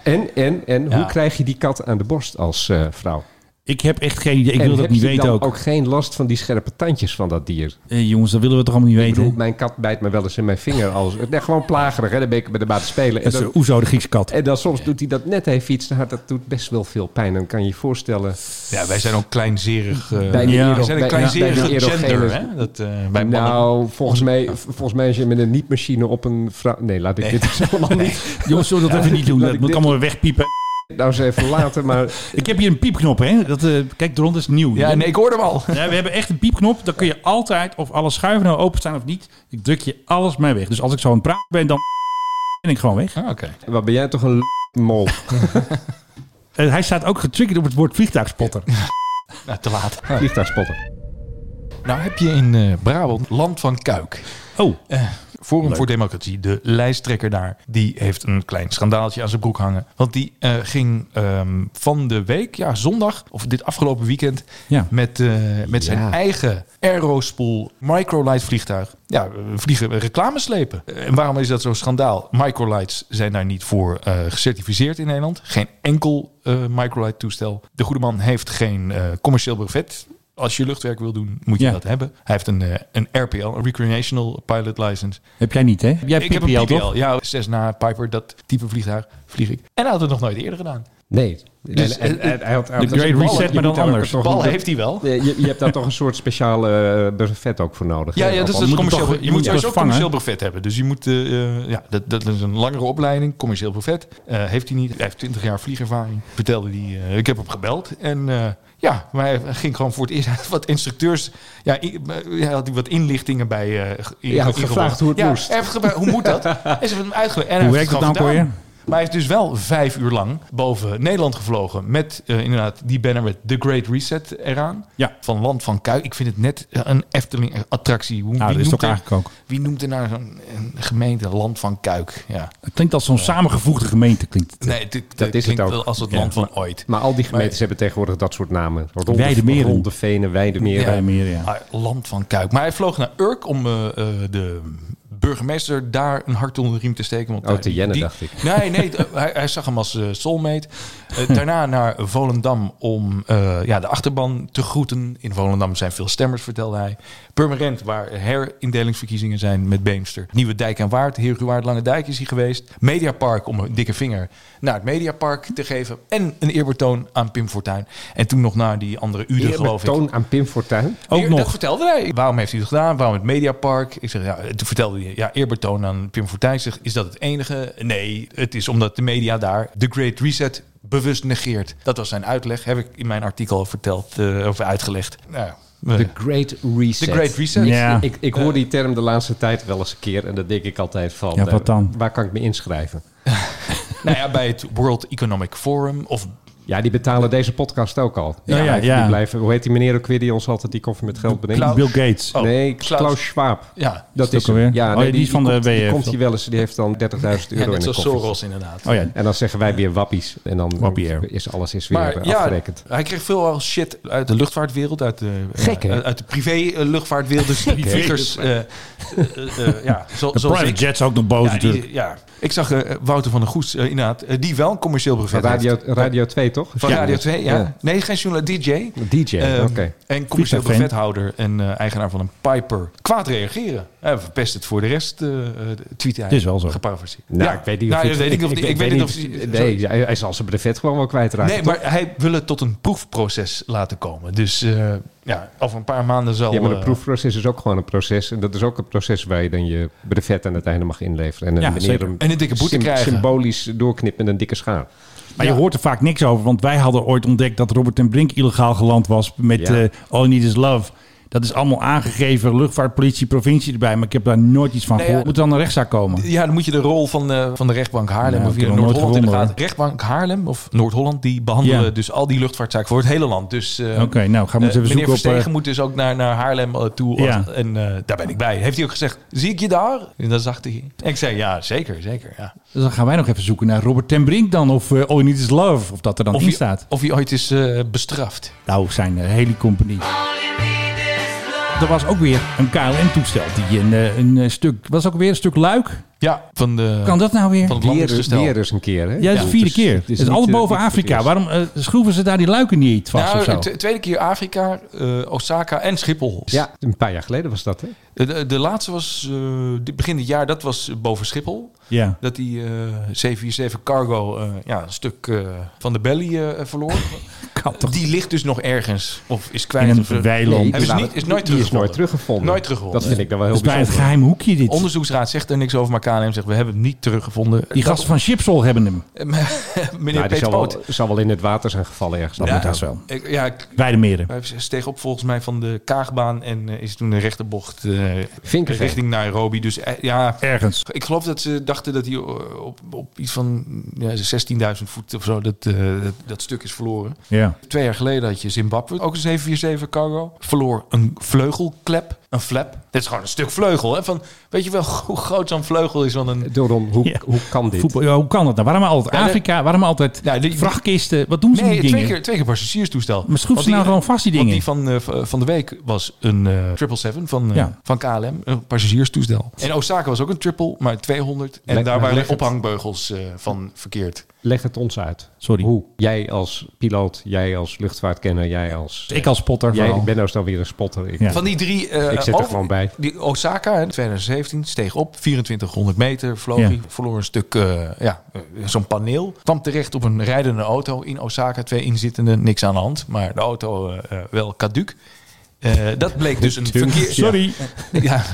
[SPEAKER 7] En, en, en
[SPEAKER 6] Ja.
[SPEAKER 7] hoe krijg je die kat aan de borst als eh, vrouw?
[SPEAKER 6] ik heb echt geen idee. Ik wil
[SPEAKER 7] En
[SPEAKER 6] dat
[SPEAKER 7] heb
[SPEAKER 6] niet
[SPEAKER 7] je
[SPEAKER 6] weten
[SPEAKER 7] dan
[SPEAKER 6] ook.
[SPEAKER 7] ook geen last van die scherpe tandjes van dat dier?
[SPEAKER 6] Eh, jongens, dat willen we toch allemaal niet
[SPEAKER 7] Ik
[SPEAKER 6] weten?
[SPEAKER 7] bedoel, mijn kat bijt me wel eens in mijn vinger. Als, nee, gewoon plagerig, hè? Dan ben ik met de baat te spelen. En
[SPEAKER 6] Dat is
[SPEAKER 7] dan,
[SPEAKER 6] de Oezo, de Griekse kat.
[SPEAKER 7] en dan soms doet hij dat net even iets te hard. Dat doet best wel veel pijn. Dan kan je je voorstellen...
[SPEAKER 1] Ja, wij zijn ook kleinzerig. eh,
[SPEAKER 7] Bij de
[SPEAKER 1] wij
[SPEAKER 7] ero-
[SPEAKER 1] zijn
[SPEAKER 7] bij-
[SPEAKER 1] een kleinzerige
[SPEAKER 7] bij de erogene-
[SPEAKER 1] gender. Hè? Dat, eh, bij mannen.
[SPEAKER 7] nou, volgens mij, volgens mij als je met een niet-machine op een vrouw... Nee, laat ik
[SPEAKER 1] Nee.
[SPEAKER 7] dit dus allemaal niet...
[SPEAKER 6] Jongens, zullen we dat
[SPEAKER 7] Ja,
[SPEAKER 6] even niet doen?
[SPEAKER 7] laat
[SPEAKER 6] Dat
[SPEAKER 7] ik
[SPEAKER 6] moet
[SPEAKER 7] dit-
[SPEAKER 6] allemaal weer wegpiepen.
[SPEAKER 7] Nou, eens even later, maar...
[SPEAKER 6] Ik heb hier een piepknop, hè? Dat, eh, kijk, de ronde is nieuw.
[SPEAKER 1] Ja, nee, ik hoorde hem al.
[SPEAKER 6] Ja, we hebben echt een piepknop. Dan kun je altijd, of alle schuiven nou openstaan of niet, ik druk je alles mee weg. Dus als ik zo aan het praten ben, dan ben ik gewoon weg.
[SPEAKER 1] Ah, Oké.
[SPEAKER 7] Wat ben jij toch een mol?
[SPEAKER 6] Eh, hij staat ook getriggerd op het woord vliegtuigspotter.
[SPEAKER 1] Nou, te laat.
[SPEAKER 7] Vliegtuigspotter.
[SPEAKER 1] Nou heb je in eh, Brabant Land van Kuik.
[SPEAKER 6] Oh.
[SPEAKER 1] Forum
[SPEAKER 6] Leuk.
[SPEAKER 1] voor Democratie, de lijsttrekker daar, die heeft een klein schandaaltje aan zijn broek hangen. Want die eh, ging ehm, van de week, ja zondag, of dit afgelopen weekend,
[SPEAKER 6] Ja.
[SPEAKER 1] met, eh, met zijn
[SPEAKER 7] Ja.
[SPEAKER 1] eigen Aerospool Microlight vliegtuig. Ja, eh, vliegen reclame slepen. Eh, En waarom is dat zo'n schandaal? Microlights zijn daar niet voor eh, gecertificeerd in Nederland. Geen enkel eh, Microlight toestel. De goede man heeft geen eh, commercieel brevet. Als je luchtwerk wil doen, moet je
[SPEAKER 6] Ja.
[SPEAKER 1] dat hebben. Hij heeft een, eh, een RPL, een Recreational Pilot License
[SPEAKER 6] Heb jij niet, hè? Jij hebt
[SPEAKER 1] ik heb
[SPEAKER 6] PPL,
[SPEAKER 1] een PPL,
[SPEAKER 6] toch?
[SPEAKER 1] ja. Zes na Piper, dat type vliegtuig vlieg ik. En hij had het nog nooit eerder gedaan.
[SPEAKER 7] Nee.
[SPEAKER 1] Dus,
[SPEAKER 7] En- en-
[SPEAKER 1] eh,
[SPEAKER 7] en hij had- hij
[SPEAKER 6] De
[SPEAKER 7] had-
[SPEAKER 6] Great
[SPEAKER 7] ballen,
[SPEAKER 6] Reset,
[SPEAKER 7] je
[SPEAKER 6] maar
[SPEAKER 7] moet
[SPEAKER 6] dan
[SPEAKER 7] daar ook
[SPEAKER 6] anders.
[SPEAKER 7] toch-
[SPEAKER 1] Bal heeft hij wel.
[SPEAKER 7] Ja, Je, je hebt daar toch een soort speciale eh, brevet ook voor nodig.
[SPEAKER 1] Ja,
[SPEAKER 7] hè?
[SPEAKER 1] ja dat is het
[SPEAKER 6] moet
[SPEAKER 1] commercieel.
[SPEAKER 6] toch-
[SPEAKER 1] brevet.
[SPEAKER 6] je
[SPEAKER 1] je
[SPEAKER 6] moet
[SPEAKER 1] moet sowieso
[SPEAKER 6] toch vangen?
[SPEAKER 1] commercieel brevet hebben. Dus je moet, eh, eh, ja, dat, dat is een langere opleiding. Commercieel brevet Eh, heeft hij niet. Hij heeft 20 jaar vliegervaring. Vertelde hij, eh, ik heb hem gebeld. En eh, ja, maar hij ging gewoon voor het eerst. Hij had wat instructeurs. Ja, i- hij had wat inlichtingen bij. eh, ge-
[SPEAKER 7] Ja, hij had
[SPEAKER 1] ingewonnen.
[SPEAKER 7] gevraagd hoe het
[SPEAKER 1] Ja,
[SPEAKER 7] moest.
[SPEAKER 1] hij heeft gevraagd, hoe moet dat? En ze hebben hem uitgelegd. En hij
[SPEAKER 6] Hoe
[SPEAKER 1] heeft
[SPEAKER 6] werkt
[SPEAKER 1] gewoon
[SPEAKER 6] het nou,
[SPEAKER 1] gedaan.
[SPEAKER 6] Cor,
[SPEAKER 1] Maar hij is dus wel vijf uur lang boven Nederland gevlogen. Met eh, inderdaad die banner met The Great Reset eraan.
[SPEAKER 6] Ja.
[SPEAKER 1] Van Land van Kuik. Ik vind het net eh, een Efteling-attractie. Hoe-
[SPEAKER 6] Nou,
[SPEAKER 1] wie
[SPEAKER 6] dat is
[SPEAKER 1] noemt
[SPEAKER 6] toch
[SPEAKER 1] er-
[SPEAKER 6] eigenlijk ook.
[SPEAKER 1] Wie noemt er nou zo'n een gemeente Land van Kuik? Ja.
[SPEAKER 6] Het klinkt als zo'n samengevoegde gemeente. Klinkt. het.
[SPEAKER 1] Nee, het- het-
[SPEAKER 7] Dat is het
[SPEAKER 1] klinkt
[SPEAKER 7] ook.
[SPEAKER 1] wel als het
[SPEAKER 6] Ja.
[SPEAKER 1] land van ooit.
[SPEAKER 7] Maar al die gemeentes hebben tegenwoordig dat soort namen. Ronde,
[SPEAKER 6] Weidemeren.
[SPEAKER 7] Ronde Venen, Weidemeren.
[SPEAKER 6] Ja, meer, ja.
[SPEAKER 1] Ah, land van Kuik. Maar hij vloog naar Urk om eh, eh, de burgemeester daar een hart onder de riem te steken. Want
[SPEAKER 7] Oh,
[SPEAKER 1] daar-
[SPEAKER 7] te Jenne,
[SPEAKER 1] die-
[SPEAKER 7] dacht ik.
[SPEAKER 1] Nee, nee t- hij, hij zag hem als eh, soulmate. Eh, daarna naar Volendam om eh, ja, de achterban te groeten. In Volendam zijn veel stemmers, vertelde hij. Purmerend, waar herindelingsverkiezingen zijn met Beemster. Nieuwe Dijk en Waard, Heerhuwaard Lange Dijk is hij geweest. Mediapark, om een dikke vinger naar het Mediapark te geven. En een eerbetoon aan Pim Fortuyn. En toen nog naar die andere Uden, geloof ik.
[SPEAKER 7] toon aan Pim Fortuyn.
[SPEAKER 1] Eer- Dat vertelde hij. Waarom heeft hij het gedaan? Waarom het Mediapark? Ik zeg, ja, toen vertelde hij, ja, eerbetoon aan Pim Fortuyn. Ik Zeg, is dat het enige? Nee, het is omdat de media daar de Great Reset bewust negeert. Dat was zijn uitleg. Heb ik in mijn artikel verteld eh, of uitgelegd. Nou, ja.
[SPEAKER 7] The Great Reset.
[SPEAKER 1] The Great Reset. Ja.
[SPEAKER 7] Ik, ik, ik hoor die term de laatste tijd wel eens een keer. En dat denk ik altijd van...
[SPEAKER 6] Ja, wat dan?
[SPEAKER 7] eh, Waar kan ik me inschrijven?
[SPEAKER 1] nou ja, bij het World Economic Forum of
[SPEAKER 7] Ja, die betalen deze podcast ook al.
[SPEAKER 1] Ja, ja,
[SPEAKER 7] die
[SPEAKER 1] ja.
[SPEAKER 7] blijven, hoe heet die meneer ook weer die ons altijd die koffie met geld bedenkt?
[SPEAKER 6] Klaus- Bill Gates. Oh,
[SPEAKER 7] nee, Klaus,
[SPEAKER 1] Klaus
[SPEAKER 7] Schwab.
[SPEAKER 1] Ja.
[SPEAKER 7] dat
[SPEAKER 6] Is het
[SPEAKER 7] is
[SPEAKER 6] ook
[SPEAKER 7] hem.
[SPEAKER 6] alweer?
[SPEAKER 7] Ja,
[SPEAKER 6] Oh,
[SPEAKER 7] nee,
[SPEAKER 6] ja,
[SPEAKER 7] die, die
[SPEAKER 6] van de
[SPEAKER 7] komt, die
[SPEAKER 6] WF.
[SPEAKER 7] komt hier wel eens. Die heeft dan 30.000 euro
[SPEAKER 1] Ja,
[SPEAKER 7] in
[SPEAKER 1] net
[SPEAKER 7] een
[SPEAKER 1] zoals
[SPEAKER 7] koffertje.
[SPEAKER 1] Soros inderdaad.
[SPEAKER 6] Oh ja.
[SPEAKER 7] En dan zeggen wij weer wappies. En dan
[SPEAKER 6] Wappie air.
[SPEAKER 7] is alles is weer
[SPEAKER 1] Maar ja,
[SPEAKER 7] afgerekend.
[SPEAKER 1] hij kreeg veel al shit uit de luchtvaartwereld, uit de,
[SPEAKER 7] Gek, hè?
[SPEAKER 1] eh, uit de privé-luchtvaartwereld. Dus die
[SPEAKER 6] hè?
[SPEAKER 1] vliegers, eh, eh, eh, ja, zo-
[SPEAKER 6] De
[SPEAKER 1] zoals
[SPEAKER 6] private
[SPEAKER 1] ik.
[SPEAKER 6] jets ook nog boos
[SPEAKER 1] Ja, die-
[SPEAKER 6] natuurlijk.
[SPEAKER 1] ja. Ik zag eh, Wouter van der Goes, eh, inderdaad, eh, die wel een commercieel
[SPEAKER 7] Van
[SPEAKER 1] brevet
[SPEAKER 7] radio,
[SPEAKER 1] heeft.
[SPEAKER 7] radio 2, toch?
[SPEAKER 1] Van Radio 2, ja. Nee, geen journalist, DJ.
[SPEAKER 7] DJ,
[SPEAKER 1] Ehm,
[SPEAKER 7] oké.
[SPEAKER 1] En commercieel
[SPEAKER 7] Vliegtuigfan.
[SPEAKER 1] brevethouder en eh, eigenaar van een Piper. Kwaad reageren. Hij verpest het voor de rest, eh eh, tweet hij.
[SPEAKER 6] Het is wel zo.
[SPEAKER 1] Geparafraseerd.
[SPEAKER 7] Nou, ik weet niet of
[SPEAKER 1] nou,
[SPEAKER 7] hij-
[SPEAKER 1] ja, weet ik, of- ik weet niet of hij-
[SPEAKER 7] Nee, hij, hij zal zijn brevet gewoon wel kwijtraken.
[SPEAKER 1] Nee,
[SPEAKER 7] toch?
[SPEAKER 1] maar hij wil het tot een proefproces laten komen. Dus eh, ja, over een paar maanden zal...
[SPEAKER 7] Ja, maar een
[SPEAKER 1] eh,
[SPEAKER 7] proefproces is ook gewoon een proces. En dat is ook een proces waar je dan je brevet aan het einde mag inleveren. En,
[SPEAKER 6] Ja,
[SPEAKER 7] een meneer
[SPEAKER 6] zeker.
[SPEAKER 7] hem
[SPEAKER 1] En een dikke boete krijgen.
[SPEAKER 7] Symbolisch doorknippen met een dikke schaar.
[SPEAKER 6] Maar je hoort er vaak niks over. Want wij hadden ooit ontdekt dat Robert ten Brink illegaal geland was met
[SPEAKER 7] Ja.
[SPEAKER 6] eh, All You Need Is Love. Dat is allemaal aangegeven, luchtvaartpolitie, provincie erbij. Maar ik heb daar nooit iets van
[SPEAKER 1] Nee, ja.
[SPEAKER 6] gehoord. Moet er dan een rechtszaak komen?
[SPEAKER 1] ja, dan moet je de rol van de, van de rechtbank Haarlem
[SPEAKER 6] Nou,
[SPEAKER 1] of
[SPEAKER 6] ik
[SPEAKER 1] hier in
[SPEAKER 6] heb nog nooit
[SPEAKER 1] Noord-Holland in de
[SPEAKER 6] gewonnen,
[SPEAKER 1] gaten. Rechtbank Haarlem of Noord-Holland, die behandelen
[SPEAKER 6] Ja.
[SPEAKER 1] dus al die luchtvaartzaken voor het hele land. Dus, eh,
[SPEAKER 6] Oké, nou, gaan we eens
[SPEAKER 1] eh,
[SPEAKER 6] even zoeken op,
[SPEAKER 1] Meneer Verstegen
[SPEAKER 6] eh,
[SPEAKER 1] moet dus ook naar, naar Haarlem eh, toe.
[SPEAKER 6] Ja.
[SPEAKER 1] En eh, daar ben ik bij. Heeft hij ook gezegd, zie ik je daar? En dan zag hij. En ik zei, ja, zeker, zeker, ja.
[SPEAKER 6] Dus dan gaan wij nog even zoeken naar Robert ten Brink dan. Of eh, All You Need Is Love. Of dat er dan
[SPEAKER 1] Of
[SPEAKER 6] in
[SPEAKER 1] hij-
[SPEAKER 6] staat.
[SPEAKER 1] Of hij ooit is eh, bestraft.
[SPEAKER 6] Nou, zijn eh, hele compagnie. Er was ook weer een KLM-toestel die een, eh, een eh, stuk... Was ook weer een stuk luik?
[SPEAKER 1] Ja, van de...
[SPEAKER 6] Kan dat nou weer?
[SPEAKER 1] Van het
[SPEAKER 7] Weer,
[SPEAKER 1] landingsgestel.
[SPEAKER 7] weer eens een keer, hè?
[SPEAKER 6] Ja, dat is de vierde
[SPEAKER 7] Dus
[SPEAKER 6] keer.
[SPEAKER 7] het
[SPEAKER 6] Het is,
[SPEAKER 7] niet,
[SPEAKER 6] alles
[SPEAKER 7] eh,
[SPEAKER 6] boven
[SPEAKER 7] niet voor het
[SPEAKER 6] Afrika.
[SPEAKER 7] eerst.
[SPEAKER 6] Waarom eh, schroeven ze daar die luiken niet vast
[SPEAKER 1] Nou,
[SPEAKER 6] of zo?
[SPEAKER 1] de tweede keer Afrika, eh, Osaka en Schiphol.
[SPEAKER 7] Ja, een paar jaar geleden was dat, hè?
[SPEAKER 1] De- De, de laatste was eh, dit- begin dit jaar, dat was eh, boven Schiphol.
[SPEAKER 6] Ja.
[SPEAKER 1] Dat die eh, 747 Cargo eh, ja, een stuk eh, van de belly eh, verloor. die ligt dus nog ergens. Of is kwijt.
[SPEAKER 6] In een
[SPEAKER 1] of, eh,
[SPEAKER 6] weiland.
[SPEAKER 1] hebben
[SPEAKER 7] die
[SPEAKER 1] ze
[SPEAKER 7] waren-
[SPEAKER 1] niet, is nooit
[SPEAKER 7] die is
[SPEAKER 1] teruggevonden.
[SPEAKER 7] nooit teruggevonden.
[SPEAKER 1] Nooit teruggevonden.
[SPEAKER 7] Dat vind ik dan wel heel
[SPEAKER 6] Dat is bij het
[SPEAKER 7] bijzonder.
[SPEAKER 6] geheim hoekje dit.
[SPEAKER 1] De Onderzoeksraad zegt er niks over, maar KLM zegt we hebben het niet teruggevonden.
[SPEAKER 6] Die gasten van Chipsol hebben hem.
[SPEAKER 1] Meneer
[SPEAKER 7] Nou, die
[SPEAKER 1] Peter
[SPEAKER 7] zal
[SPEAKER 1] Poot.
[SPEAKER 7] wel, zal wel in het water zijn gevallen ergens.
[SPEAKER 6] Dat
[SPEAKER 7] Ja.
[SPEAKER 6] moet dat wel.
[SPEAKER 1] Ik- Ja, ik,
[SPEAKER 6] Bij de meren.
[SPEAKER 1] hij steeg op volgens mij van de Kaagbaan en eh, is toen een rechterbocht eh,
[SPEAKER 7] Vinkenveen.
[SPEAKER 1] richting Nairobi. Dus eh, ja,
[SPEAKER 6] Ergens.
[SPEAKER 1] Ik geloof dat ze dachten dat hij eh, op, op iets van ja, 16.000 voet of zo dat, eh, dat, dat stuk is verloren.
[SPEAKER 6] Ja.
[SPEAKER 1] Twee jaar geleden had je Zimbabwe, ook een 747 cargo. Verloor een vleugelklep, een flap. Dit is gewoon een stuk vleugel. Hè? Van, weet je wel hoe groot zo'n vleugel is van een...
[SPEAKER 7] Daarom, hoe,
[SPEAKER 6] Ja.
[SPEAKER 7] hoe kan dit?
[SPEAKER 6] Voetbal, ja, hoe kan dat nou? Waarom altijd
[SPEAKER 1] Ja, de-
[SPEAKER 6] Afrika? Waarom altijd
[SPEAKER 1] Ja, die-
[SPEAKER 6] vrachtkisten? Wat doen ze
[SPEAKER 1] Nee,
[SPEAKER 6] die dingen?
[SPEAKER 1] twee keer, twee keer passagierstoestel.
[SPEAKER 6] Maar schroef
[SPEAKER 1] Want
[SPEAKER 6] ze nou
[SPEAKER 1] die-
[SPEAKER 6] gewoon vast die dingen?
[SPEAKER 1] Want die van, eh, v- van de week was een eh 777 van, eh,
[SPEAKER 6] Ja.
[SPEAKER 1] van KLM, een passagierstoestel. En Osaka was ook een triple, maar 200. En
[SPEAKER 7] Leg-
[SPEAKER 1] daar
[SPEAKER 7] maar
[SPEAKER 1] waren
[SPEAKER 7] leg het.
[SPEAKER 1] ophangbeugels eh, van verkeerd.
[SPEAKER 7] Leg het ons uit.
[SPEAKER 6] Sorry.
[SPEAKER 7] Hoe jij als piloot, jij als luchtvaartkenner, jij als...
[SPEAKER 6] Ik als spotter
[SPEAKER 7] Jij,
[SPEAKER 6] vooral.
[SPEAKER 7] ik ben nou dan weer een spotter. Ik,
[SPEAKER 6] Ja.
[SPEAKER 1] Van die drie... eh,
[SPEAKER 7] ik zit er
[SPEAKER 1] over-
[SPEAKER 7] gewoon bij.
[SPEAKER 1] Die Osaka in 2017 steeg op, 2400 meter vloog
[SPEAKER 6] Ja.
[SPEAKER 1] hij, verloor een stuk, eh, ja, eh, zo'n paneel. Kwam terecht op een rijdende auto in Osaka, twee inzittenden, niks aan de hand, maar de auto eh, eh, wel caduc. Eh, dat bleek dus een verkeer...
[SPEAKER 6] Sorry.
[SPEAKER 1] Ja,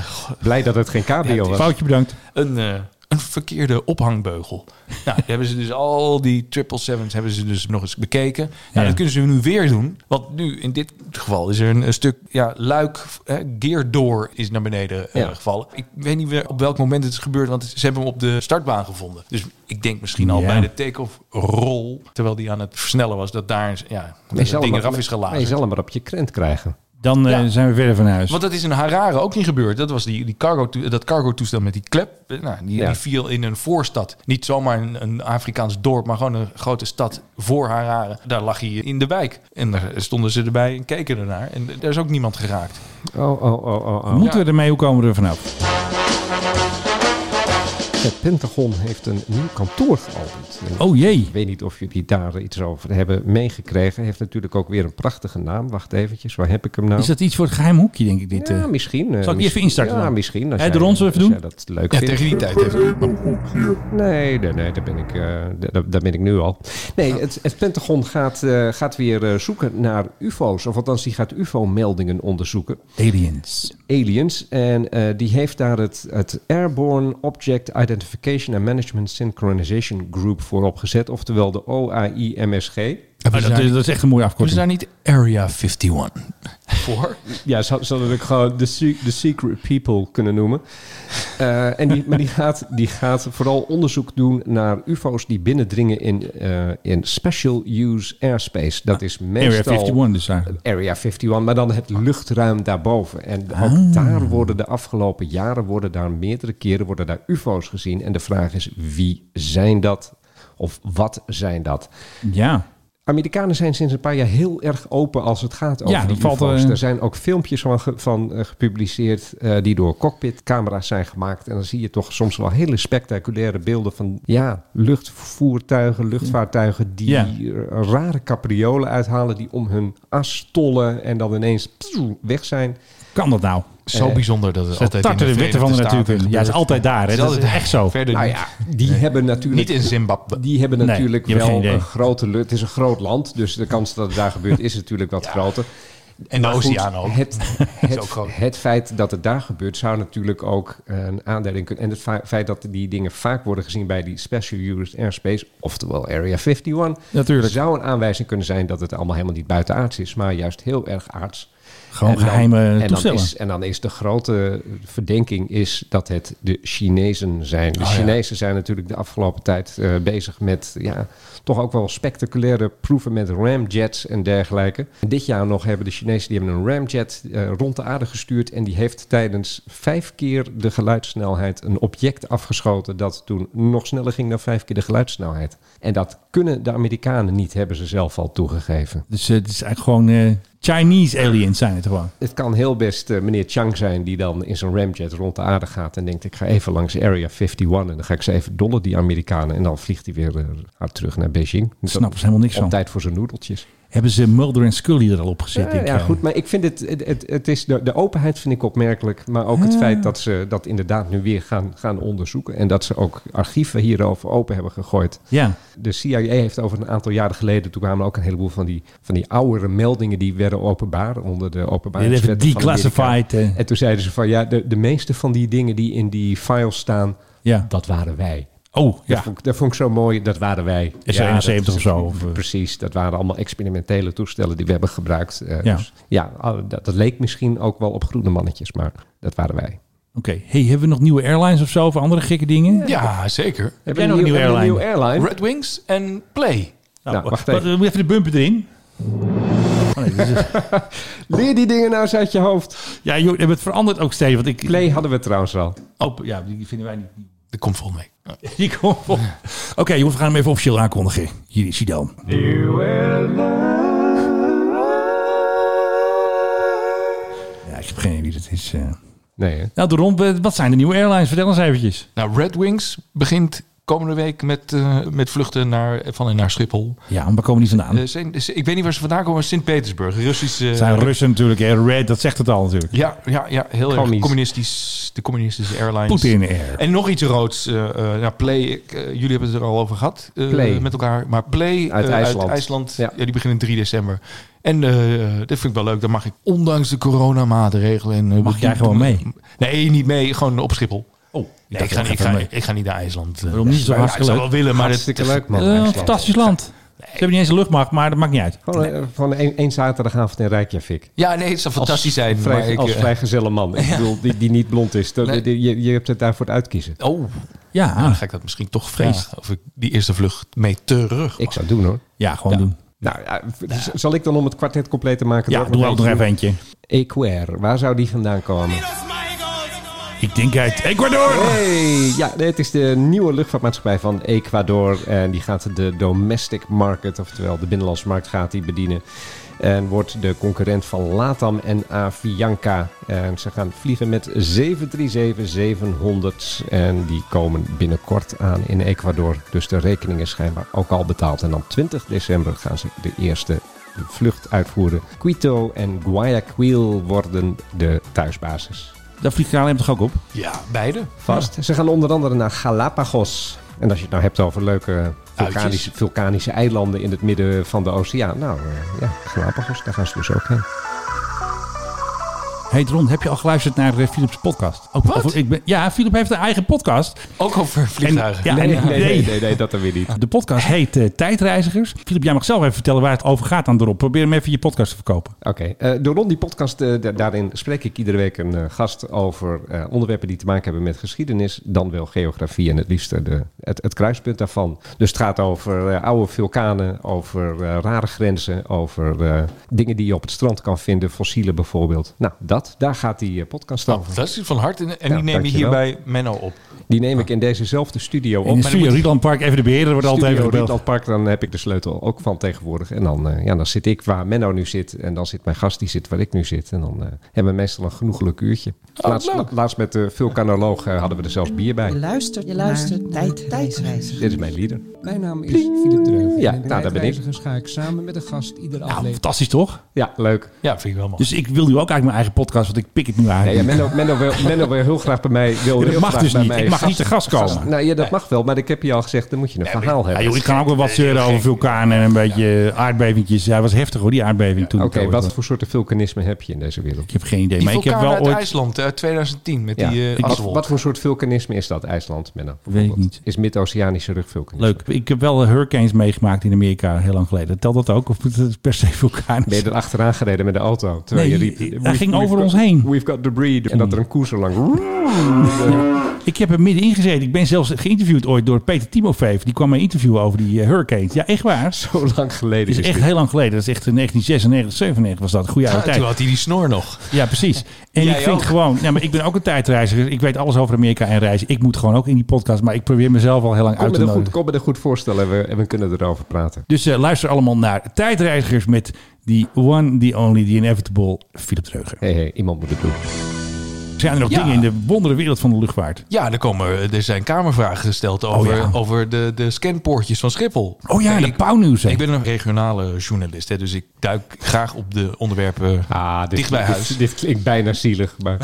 [SPEAKER 7] Blij dat het geen cabrio was.
[SPEAKER 6] Foutje bedankt.
[SPEAKER 1] een, eh, een verkeerde ophangbeugel. Nou, die hebben ze dus al die triple sevens hebben ze dus nog eens bekeken. Nou,
[SPEAKER 6] Ja.
[SPEAKER 1] dat kunnen ze nu weer doen. Want nu in dit geval is er een, een stuk ja, luik, eh, geardoor is naar beneden eh,
[SPEAKER 7] Ja.
[SPEAKER 1] gevallen. Ik weet niet meer op welk moment het is gebeurd, want ze hebben hem op de startbaan gevonden. Dus ik denk misschien al
[SPEAKER 6] Ja.
[SPEAKER 1] bij de take-off rol, terwijl die aan het versnellen was, dat daar ja,
[SPEAKER 7] Je
[SPEAKER 1] dat
[SPEAKER 7] zal
[SPEAKER 1] ding
[SPEAKER 7] hem
[SPEAKER 1] eraf
[SPEAKER 7] maar-
[SPEAKER 1] is
[SPEAKER 7] Je
[SPEAKER 1] gelaten.
[SPEAKER 7] zal hem maar op je krent krijgen.
[SPEAKER 6] Dan eh,
[SPEAKER 1] Ja.
[SPEAKER 6] zijn we verder van huis.
[SPEAKER 1] Want dat is in Harare ook niet gebeurd. Dat was die, die cargo, toe- dat cargo-toestel met die klep. Eh, Nou, die,
[SPEAKER 7] Ja.
[SPEAKER 1] die viel in een voorstad. Niet zomaar een, een Afrikaans dorp, maar gewoon een grote stad voor Harare. Daar lag hij in de wijk. En daar stonden ze erbij en keken ernaar. En Ah, daar is ook niemand geraakt.
[SPEAKER 7] Oh, oh, oh, oh. oh.
[SPEAKER 6] Moeten we ermee? Hoe komen we er vanaf?
[SPEAKER 7] Het Pentagon heeft een nieuw kantoor geopend. En
[SPEAKER 6] Oh jee.
[SPEAKER 7] Ik weet niet of jullie daar iets over hebben meegekregen. Heeft natuurlijk ook weer een prachtige naam. Wacht eventjes, waar heb ik hem nou?
[SPEAKER 6] Is dat iets voor het geheim hoekje, denk ik? Dit,
[SPEAKER 7] Ja,
[SPEAKER 6] eh?
[SPEAKER 7] misschien. eh,
[SPEAKER 6] Zal ik die
[SPEAKER 7] misschien-
[SPEAKER 6] even instarten?
[SPEAKER 7] Ja,
[SPEAKER 6] dan?
[SPEAKER 7] misschien. Als
[SPEAKER 6] Hè, de
[SPEAKER 7] jij-
[SPEAKER 6] rons even
[SPEAKER 7] als
[SPEAKER 6] doen?
[SPEAKER 7] jij dat leuk vindt. Nee, nee, nee, daar ben ik, eh, daar- daar, daar ben ik nu al. Nee, het, het Pentagon gaat, eh, gaat weer eh, zoeken naar UFO's. Of althans, die gaat UFO-meldingen onderzoeken. Oh,
[SPEAKER 6] Aliens.
[SPEAKER 7] Aliens. En eh, die heeft daar het, het Airborne Object Identification and Management Synchronization Group voor opgezet. Oftewel de OAI-MSG.
[SPEAKER 6] Ah, dat, is- dat is echt een mooie afkorting.
[SPEAKER 1] daar niet Area 51 voor?
[SPEAKER 7] Ja, ze zouden ik gewoon de se- de secret people kunnen noemen. Eh, en die, maar die gaat, die gaat vooral onderzoek doen naar UFO's die binnendringen in, eh, in special use airspace. Dat is meestal
[SPEAKER 6] Ah, Area 51 dus eigenlijk.
[SPEAKER 7] Area 51, maar dan het luchtruim daarboven. En ook
[SPEAKER 6] Ah.
[SPEAKER 7] daar worden de afgelopen jaren worden daar meerdere keren worden daar UFO's gezien. En de vraag is wie zijn dat of wat zijn dat?
[SPEAKER 6] Ja.
[SPEAKER 7] Amerikanen zijn sinds een paar jaar heel erg open als het gaat over
[SPEAKER 6] Ja, die
[SPEAKER 7] die
[SPEAKER 6] valt,
[SPEAKER 7] UFO's.
[SPEAKER 6] eh,
[SPEAKER 7] Er zijn ook filmpjes van, ge- van eh, gepubliceerd eh, die door cockpitcamera's zijn gemaakt. En dan zie je toch soms wel hele spectaculaire beelden van ja, luchtvoertuigen, luchtvaartuigen die
[SPEAKER 6] Ja.
[SPEAKER 7] eh, rare capriolen uithalen die om hun as tollen en dan ineens pssst, weg zijn.
[SPEAKER 6] Kan dat nou?
[SPEAKER 1] Zo
[SPEAKER 7] Eh,
[SPEAKER 1] bijzonder dat het
[SPEAKER 6] Ze
[SPEAKER 1] altijd in
[SPEAKER 6] tarten
[SPEAKER 1] de
[SPEAKER 6] de wetten van de
[SPEAKER 1] Verenigde
[SPEAKER 6] natuur
[SPEAKER 1] Staten
[SPEAKER 6] in. Ja,
[SPEAKER 1] gebeurt.
[SPEAKER 6] is altijd daar. Hè?
[SPEAKER 1] Is
[SPEAKER 6] Dat is
[SPEAKER 1] altijd daar.
[SPEAKER 6] echt zo.
[SPEAKER 1] Verder
[SPEAKER 7] nou
[SPEAKER 1] niet.
[SPEAKER 7] ja, die hebben natuurlijk...
[SPEAKER 1] Niet in Zimbabwe.
[SPEAKER 7] Die hebben
[SPEAKER 6] Nee,
[SPEAKER 7] natuurlijk
[SPEAKER 6] die hebben
[SPEAKER 7] wel
[SPEAKER 6] geen idee.
[SPEAKER 7] een grote... lu- Het is een groot land, dus de kans dat het daar gebeurt is natuurlijk wat groter.
[SPEAKER 1] En de
[SPEAKER 7] Maar goed,
[SPEAKER 1] oceaan ook.
[SPEAKER 7] Het,
[SPEAKER 1] Is
[SPEAKER 7] het,
[SPEAKER 1] ook groot.
[SPEAKER 7] het feit dat het daar gebeurt zou natuurlijk ook eh, een aanleiding kunnen... En het fa- feit dat die dingen vaak worden gezien bij die Special Used Airspace... oftewel Area 51...
[SPEAKER 6] Natuurlijk.
[SPEAKER 7] zou een aanwijzing kunnen zijn dat het allemaal helemaal niet buitenaards is... maar juist heel erg aards.
[SPEAKER 6] Gewoon
[SPEAKER 7] dan-
[SPEAKER 6] geheime
[SPEAKER 7] dan,
[SPEAKER 6] toestellen.
[SPEAKER 7] is, en dan is de grote verdenking is dat het de Chinezen zijn. De
[SPEAKER 6] Oh, ja.
[SPEAKER 7] Chinezen zijn natuurlijk de afgelopen tijd eh, bezig met ja, toch ook wel spectaculaire proeven met ramjets en dergelijke. Dit jaar nog hebben de Chinezen die hebben een ramjet eh, rond de aarde gestuurd. En die heeft tijdens vijf keer de geluidssnelheid een object afgeschoten dat toen nog sneller ging dan vijf keer de geluidssnelheid. En dat kunnen de Amerikanen niet, hebben ze zelf al toegegeven.
[SPEAKER 6] Dus eh, het is eigenlijk gewoon eh, Chinese aliens zijn het gewoon.
[SPEAKER 7] Het kan heel best eh, meneer Chang zijn die dan in zijn ramjet rond de aarde gaat en denkt ik ga even langs Area 51 en dan ga ik ze even dollen die Amerikanen en dan vliegt hij weer eh, hard terug naar Beijing. Dus
[SPEAKER 6] Snappen ze helemaal niks
[SPEAKER 7] op
[SPEAKER 6] van.
[SPEAKER 7] tijd voor zijn noedeltjes.
[SPEAKER 6] Hebben ze Mulder en Scully er al op gezet?
[SPEAKER 7] ja,
[SPEAKER 6] denk ik,
[SPEAKER 7] ja,
[SPEAKER 6] eh.
[SPEAKER 7] goed, maar ik vind het, het, het, het is de, de openheid vind ik opmerkelijk, maar ook het
[SPEAKER 6] Ja.
[SPEAKER 7] feit dat ze dat inderdaad nu weer gaan, gaan onderzoeken en dat ze ook archieven hierover open hebben gegooid.
[SPEAKER 6] Ja.
[SPEAKER 7] De CIA heeft over een aantal jaren geleden, toen kwamen ook een heleboel van die, van die oudere meldingen die werden openbaar onder de
[SPEAKER 6] Dit
[SPEAKER 7] openbaarheidswetten
[SPEAKER 6] even
[SPEAKER 7] van Amerika.
[SPEAKER 6] declassified. eh.
[SPEAKER 7] En toen zeiden ze van ja, de, de meeste van die dingen die in die files staan,
[SPEAKER 6] Ja.
[SPEAKER 7] dat waren wij.
[SPEAKER 6] Oh,
[SPEAKER 7] Dat,
[SPEAKER 6] ja.
[SPEAKER 7] vond, ik- dat vond ik zo mooi, dat waren wij.
[SPEAKER 6] SR-71
[SPEAKER 7] dat-
[SPEAKER 6] of zo, of, eh.
[SPEAKER 7] Precies, dat waren allemaal experimentele toestellen die we hebben gebruikt. Eh,
[SPEAKER 6] Ja.
[SPEAKER 7] Dus, ja, al- dat, dat leek misschien ook wel op groene mannetjes, maar dat waren wij.
[SPEAKER 6] Oké. Hey, hebben we nog nieuwe airlines of zo? Of andere gekke dingen?
[SPEAKER 1] Ja, zeker.
[SPEAKER 6] Heb jij nog een nieuwe
[SPEAKER 7] hebben we
[SPEAKER 6] airline?
[SPEAKER 7] een nieuwe airline?
[SPEAKER 1] Red Wings en Play.
[SPEAKER 6] Nou,
[SPEAKER 7] Nou, wacht
[SPEAKER 6] wat-
[SPEAKER 7] even.
[SPEAKER 6] Moet je even de bumper erin? Oh, nee, dit is-
[SPEAKER 7] Leer die dingen nou eens uit je hoofd.
[SPEAKER 6] ja, joh, het verandert ook steeds. Want ik,
[SPEAKER 7] Play hadden we trouwens al.
[SPEAKER 6] Oh, ja, die vinden wij niet.
[SPEAKER 1] Dat komt volgende week.
[SPEAKER 6] Die komt op. Oké, jongens, we gaan hem even officieel aankondigen. Hier is hij dan. Ja, ik heb geen idee wie dat is. eh.
[SPEAKER 7] Nee, hè?
[SPEAKER 6] Nou, de rond, eh, wat zijn de nieuwe airlines? Vertel eens eventjes.
[SPEAKER 1] Nou, Red Wings begint komende week met, eh, met vluchten naar, van en naar Schiphol.
[SPEAKER 6] Ja, maar waar komen die vandaan?
[SPEAKER 1] Eh, zijn- ik weet niet waar ze vandaan komen, maar Sint-Petersburg. Russisch. eh,
[SPEAKER 6] Het zijn Russen natuurlijk. Hè. Red, dat zegt het al natuurlijk.
[SPEAKER 1] Ja, ja, ja, heel erg
[SPEAKER 7] Commies.
[SPEAKER 1] communistisch. De communistische airlines.
[SPEAKER 6] Poetin Air.
[SPEAKER 1] En nog iets roods. eh eh, nou, Play, ik, eh, jullie hebben het er al over gehad eh,
[SPEAKER 7] Play.
[SPEAKER 1] met elkaar. Maar Play eh,
[SPEAKER 7] IJsland.
[SPEAKER 1] Ja.
[SPEAKER 7] Ja.
[SPEAKER 1] die beginnen 3 december. En eh dat vind ik wel leuk. Dan mag ik ondanks de coronamaatregelen... En, eh,
[SPEAKER 6] Mag jij gewoon mee?
[SPEAKER 1] Nee, niet mee. Gewoon op Schiphol.
[SPEAKER 6] Oh,
[SPEAKER 1] Nee, ik, ga, niet- ik, ga, ik ga niet naar IJsland. eh.
[SPEAKER 6] Waarom niet? Zo
[SPEAKER 1] Ja, ik
[SPEAKER 6] hartstikke
[SPEAKER 1] zou
[SPEAKER 6] leuk.
[SPEAKER 1] wel willen, maar dat-
[SPEAKER 7] Hartstikke leuk, man.
[SPEAKER 6] Eh,
[SPEAKER 7] IJsland.
[SPEAKER 6] fantastisch land. Ze hebben niet eens een luchtmacht, maar dat maakt niet uit.
[SPEAKER 7] Gewoon, eh, gewoon één, één zaterdagavond in Reykjavik.
[SPEAKER 1] Ja, nee, het zou fantastisch zijn.
[SPEAKER 7] Vrij,
[SPEAKER 1] maar ik,
[SPEAKER 7] als
[SPEAKER 1] eh,
[SPEAKER 7] vrijgezelle man. Ik bedoel, die, die niet blond is. Dat-
[SPEAKER 1] Nee.
[SPEAKER 7] die- je, je hebt het daarvoor het uitkiezen.
[SPEAKER 1] Oh,
[SPEAKER 6] Ah. Ja,
[SPEAKER 1] dan ga ik dat misschien toch vrezen. Of ik die eerste vlucht mee terug
[SPEAKER 7] Ik zou het doen hoor.
[SPEAKER 6] ja gewoon doen.
[SPEAKER 7] Nou, ja, z- zal ik dan om het kwartet compleet te maken?
[SPEAKER 6] Ja,
[SPEAKER 7] toch
[SPEAKER 6] doe ook nog even
[SPEAKER 7] eentje
[SPEAKER 6] eentje.
[SPEAKER 7] doen? Equair, waar zou die vandaan komen?
[SPEAKER 6] Ik denk uit Ecuador.
[SPEAKER 7] Hey, ja, nee, het is de nieuwe luchtvaartmaatschappij van Ecuador. En die gaat de domestic market, oftewel de binnenlandse markt, gaat die bedienen. En wordt de concurrent van Latam en Avianca. En ze gaan vliegen met 737-700. En die komen binnenkort aan in Ecuador. Dus de rekening is schijnbaar ook al betaald. En dan 20 december gaan ze de eerste vlucht uitvoeren. Quito en Guayaquil worden de thuisbasis.
[SPEAKER 6] Daar vliegt KLM toch ook op?
[SPEAKER 1] Ja, beide.
[SPEAKER 7] Vast. Ze gaan onder andere naar Galapagos. En als je het nou hebt over leuke vulkanische, vulkanische eilanden in het midden van de oceaan. Nou eh, ja, Galapagos, daar gaan ze dus ook heen.
[SPEAKER 6] Hey Dron, heb je al geluisterd naar eh, Philips podcast?
[SPEAKER 1] Ook wat?
[SPEAKER 6] ik ben, ja, Philip heeft een eigen podcast.
[SPEAKER 1] Ook over vliegtuigen.
[SPEAKER 6] En- ja,
[SPEAKER 7] Nee,
[SPEAKER 6] en-
[SPEAKER 7] nee, nee, nee, nee, dat dan weer niet.
[SPEAKER 6] De podcast heet eh, Tijdreizigers. Philip, jij mag zelf even vertellen waar het over gaat aan Dron. Probeer hem even je podcast te verkopen.
[SPEAKER 7] Oké, eh, door Ron die podcast, eh, da- daarin spreek ik iedere week een eh, gast over eh, onderwerpen die te maken hebben met geschiedenis, dan wel geografie en het liefst eh, de, het, het kruispunt daarvan. Dus het gaat over eh, oude vulkanen, over eh, rare grenzen, over eh, dingen die je op het strand kan vinden, fossielen bijvoorbeeld. Nou, dat, daar gaat die eh, podcast over.
[SPEAKER 1] Dat is Nou, van hart. En, en
[SPEAKER 7] Ja,
[SPEAKER 1] die neem je
[SPEAKER 7] dankjewel.
[SPEAKER 1] hierbij Menno op.
[SPEAKER 7] Die neem ik in dezezelfde studio
[SPEAKER 6] In
[SPEAKER 7] op.
[SPEAKER 6] de studio Rieland Park, even de beheerder wordt altijd even
[SPEAKER 7] Studio
[SPEAKER 6] gebeld.
[SPEAKER 7] Rietveld Park, dan heb ik de sleutel ook van tegenwoordig. En dan, eh, ja, dan zit ik waar Menno nu zit. En dan zit mijn gast, die zit waar ik nu zit. En dan eh, hebben we meestal een genoegelijk uurtje.
[SPEAKER 18] Oh,
[SPEAKER 7] laatst, la- laatst met de vulkanoloog eh, hadden we er zelfs bier bij.
[SPEAKER 18] luistert, je luistert tijd, tijdreizen.
[SPEAKER 7] Dit is mijn lieder.
[SPEAKER 18] Mijn naam is Philip Dreugen.
[SPEAKER 7] Ja,
[SPEAKER 18] en in
[SPEAKER 7] nou, daar ben ik.
[SPEAKER 9] Dus
[SPEAKER 18] Tijdreizigers ga ik samen met een gast iedere
[SPEAKER 6] Nou,
[SPEAKER 18] aflevering.
[SPEAKER 6] fantastisch toch?
[SPEAKER 7] Ja, leuk.
[SPEAKER 1] Ja, vind ik wel mooi.
[SPEAKER 6] Dus ik wil nu ook eigenlijk mijn eigen podcast, want ik pik het nu
[SPEAKER 7] Nee,
[SPEAKER 6] eigenlijk.
[SPEAKER 7] ja, Menno, Menno, wil, Menno wil heel graag bij mij. Wil
[SPEAKER 6] Ja, dat
[SPEAKER 7] heel
[SPEAKER 6] mag
[SPEAKER 7] graag
[SPEAKER 6] dus
[SPEAKER 7] bij
[SPEAKER 6] niet.
[SPEAKER 7] mij
[SPEAKER 6] Ik mag niet te gast komen.
[SPEAKER 7] nou, ja, dat mag wel, maar ik heb je al gezegd, dan moet je een verhaal
[SPEAKER 6] Ja, Ah,
[SPEAKER 7] hebben.
[SPEAKER 6] joh, ik kan ook wel wat zeuren over vulkanen en een beetje aardbevingjes. Ja, het was heftig hoor, die aardbeving toen.
[SPEAKER 7] Oké,
[SPEAKER 6] trouwens.
[SPEAKER 7] wat voor soorten vulkanisme heb je in deze wereld?
[SPEAKER 6] Ik heb geen idee,
[SPEAKER 1] Die
[SPEAKER 6] maar ik heb
[SPEAKER 1] vulkaan
[SPEAKER 6] wel
[SPEAKER 1] uit
[SPEAKER 6] ooit...
[SPEAKER 1] IJsland uit 2010 met
[SPEAKER 7] Ja.
[SPEAKER 1] die
[SPEAKER 7] Ik-
[SPEAKER 1] eh
[SPEAKER 7] wat,
[SPEAKER 1] aswolf.
[SPEAKER 7] wat voor soort vulkanisme is dat, IJsland, Menno?
[SPEAKER 6] Weet ik niet.
[SPEAKER 7] Is Mid-Oceanische rugvulkanisme.
[SPEAKER 6] Leuk. Ik heb wel hurricanes meegemaakt in Amerika heel lang geleden. Telt dat ook? Of moet het per se vulkanen
[SPEAKER 7] Ben je
[SPEAKER 6] zijn?
[SPEAKER 7] er achteraan gereden met de auto? Terwijl
[SPEAKER 6] Nee,
[SPEAKER 7] je riep,
[SPEAKER 6] hij
[SPEAKER 7] "We've-
[SPEAKER 6] ging
[SPEAKER 7] we've
[SPEAKER 6] over
[SPEAKER 7] got-
[SPEAKER 6] ons heen.
[SPEAKER 7] We've got debris. En dat er een koers lang...
[SPEAKER 6] Ik heb er middenin gezeten. Ik ben zelfs geïnterviewd ooit door Peter Timofeev. Die kwam mij interviewen over die eh, hurricanes. Ja, echt waar.
[SPEAKER 7] Zo lang geleden
[SPEAKER 6] Dat is
[SPEAKER 7] is
[SPEAKER 6] echt
[SPEAKER 7] dit.
[SPEAKER 6] heel lang geleden. Dat is echt in 1996, 97 was dat. Goede oude
[SPEAKER 1] Ja,
[SPEAKER 6] tijd.
[SPEAKER 1] toen had hij die snor nog.
[SPEAKER 6] Ja, preis. En
[SPEAKER 1] Jij
[SPEAKER 6] ik vind
[SPEAKER 1] ook.
[SPEAKER 6] gewoon, ja, maar ik ben ook een tijdreiziger. Ik weet alles over Amerika en reizen. Ik moet gewoon ook in die podcast, maar ik probeer mezelf al heel lang
[SPEAKER 7] Kom
[SPEAKER 6] uit
[SPEAKER 7] met
[SPEAKER 6] te
[SPEAKER 7] een goed,
[SPEAKER 6] nodigen.
[SPEAKER 7] kom met een goed voorstel en we, en we kunnen erover praten.
[SPEAKER 6] Dus eh, luister allemaal naar tijdreizigers met die one, the only, the inevitable Philip Dreuger.
[SPEAKER 7] Hé, hey, iemand moet het doen.
[SPEAKER 6] Zijn er nog
[SPEAKER 1] Ja.
[SPEAKER 6] dingen in de wondere wereld van de luchtvaart?
[SPEAKER 1] Ja, er, komen, er zijn kamervragen gesteld over,
[SPEAKER 6] Oh, ja.
[SPEAKER 1] over de, de scanpoortjes van Schiphol.
[SPEAKER 6] Oh ja,
[SPEAKER 1] En
[SPEAKER 6] de
[SPEAKER 1] ik-
[SPEAKER 6] pauwnieuws. hè.
[SPEAKER 1] Ik ben een regionale journalist, hè, dus ik duik graag op de onderwerpen
[SPEAKER 7] Ah, dit,
[SPEAKER 1] dicht bij
[SPEAKER 7] dit-
[SPEAKER 1] huis.
[SPEAKER 7] Dit, klinkt bijna zielig, maar...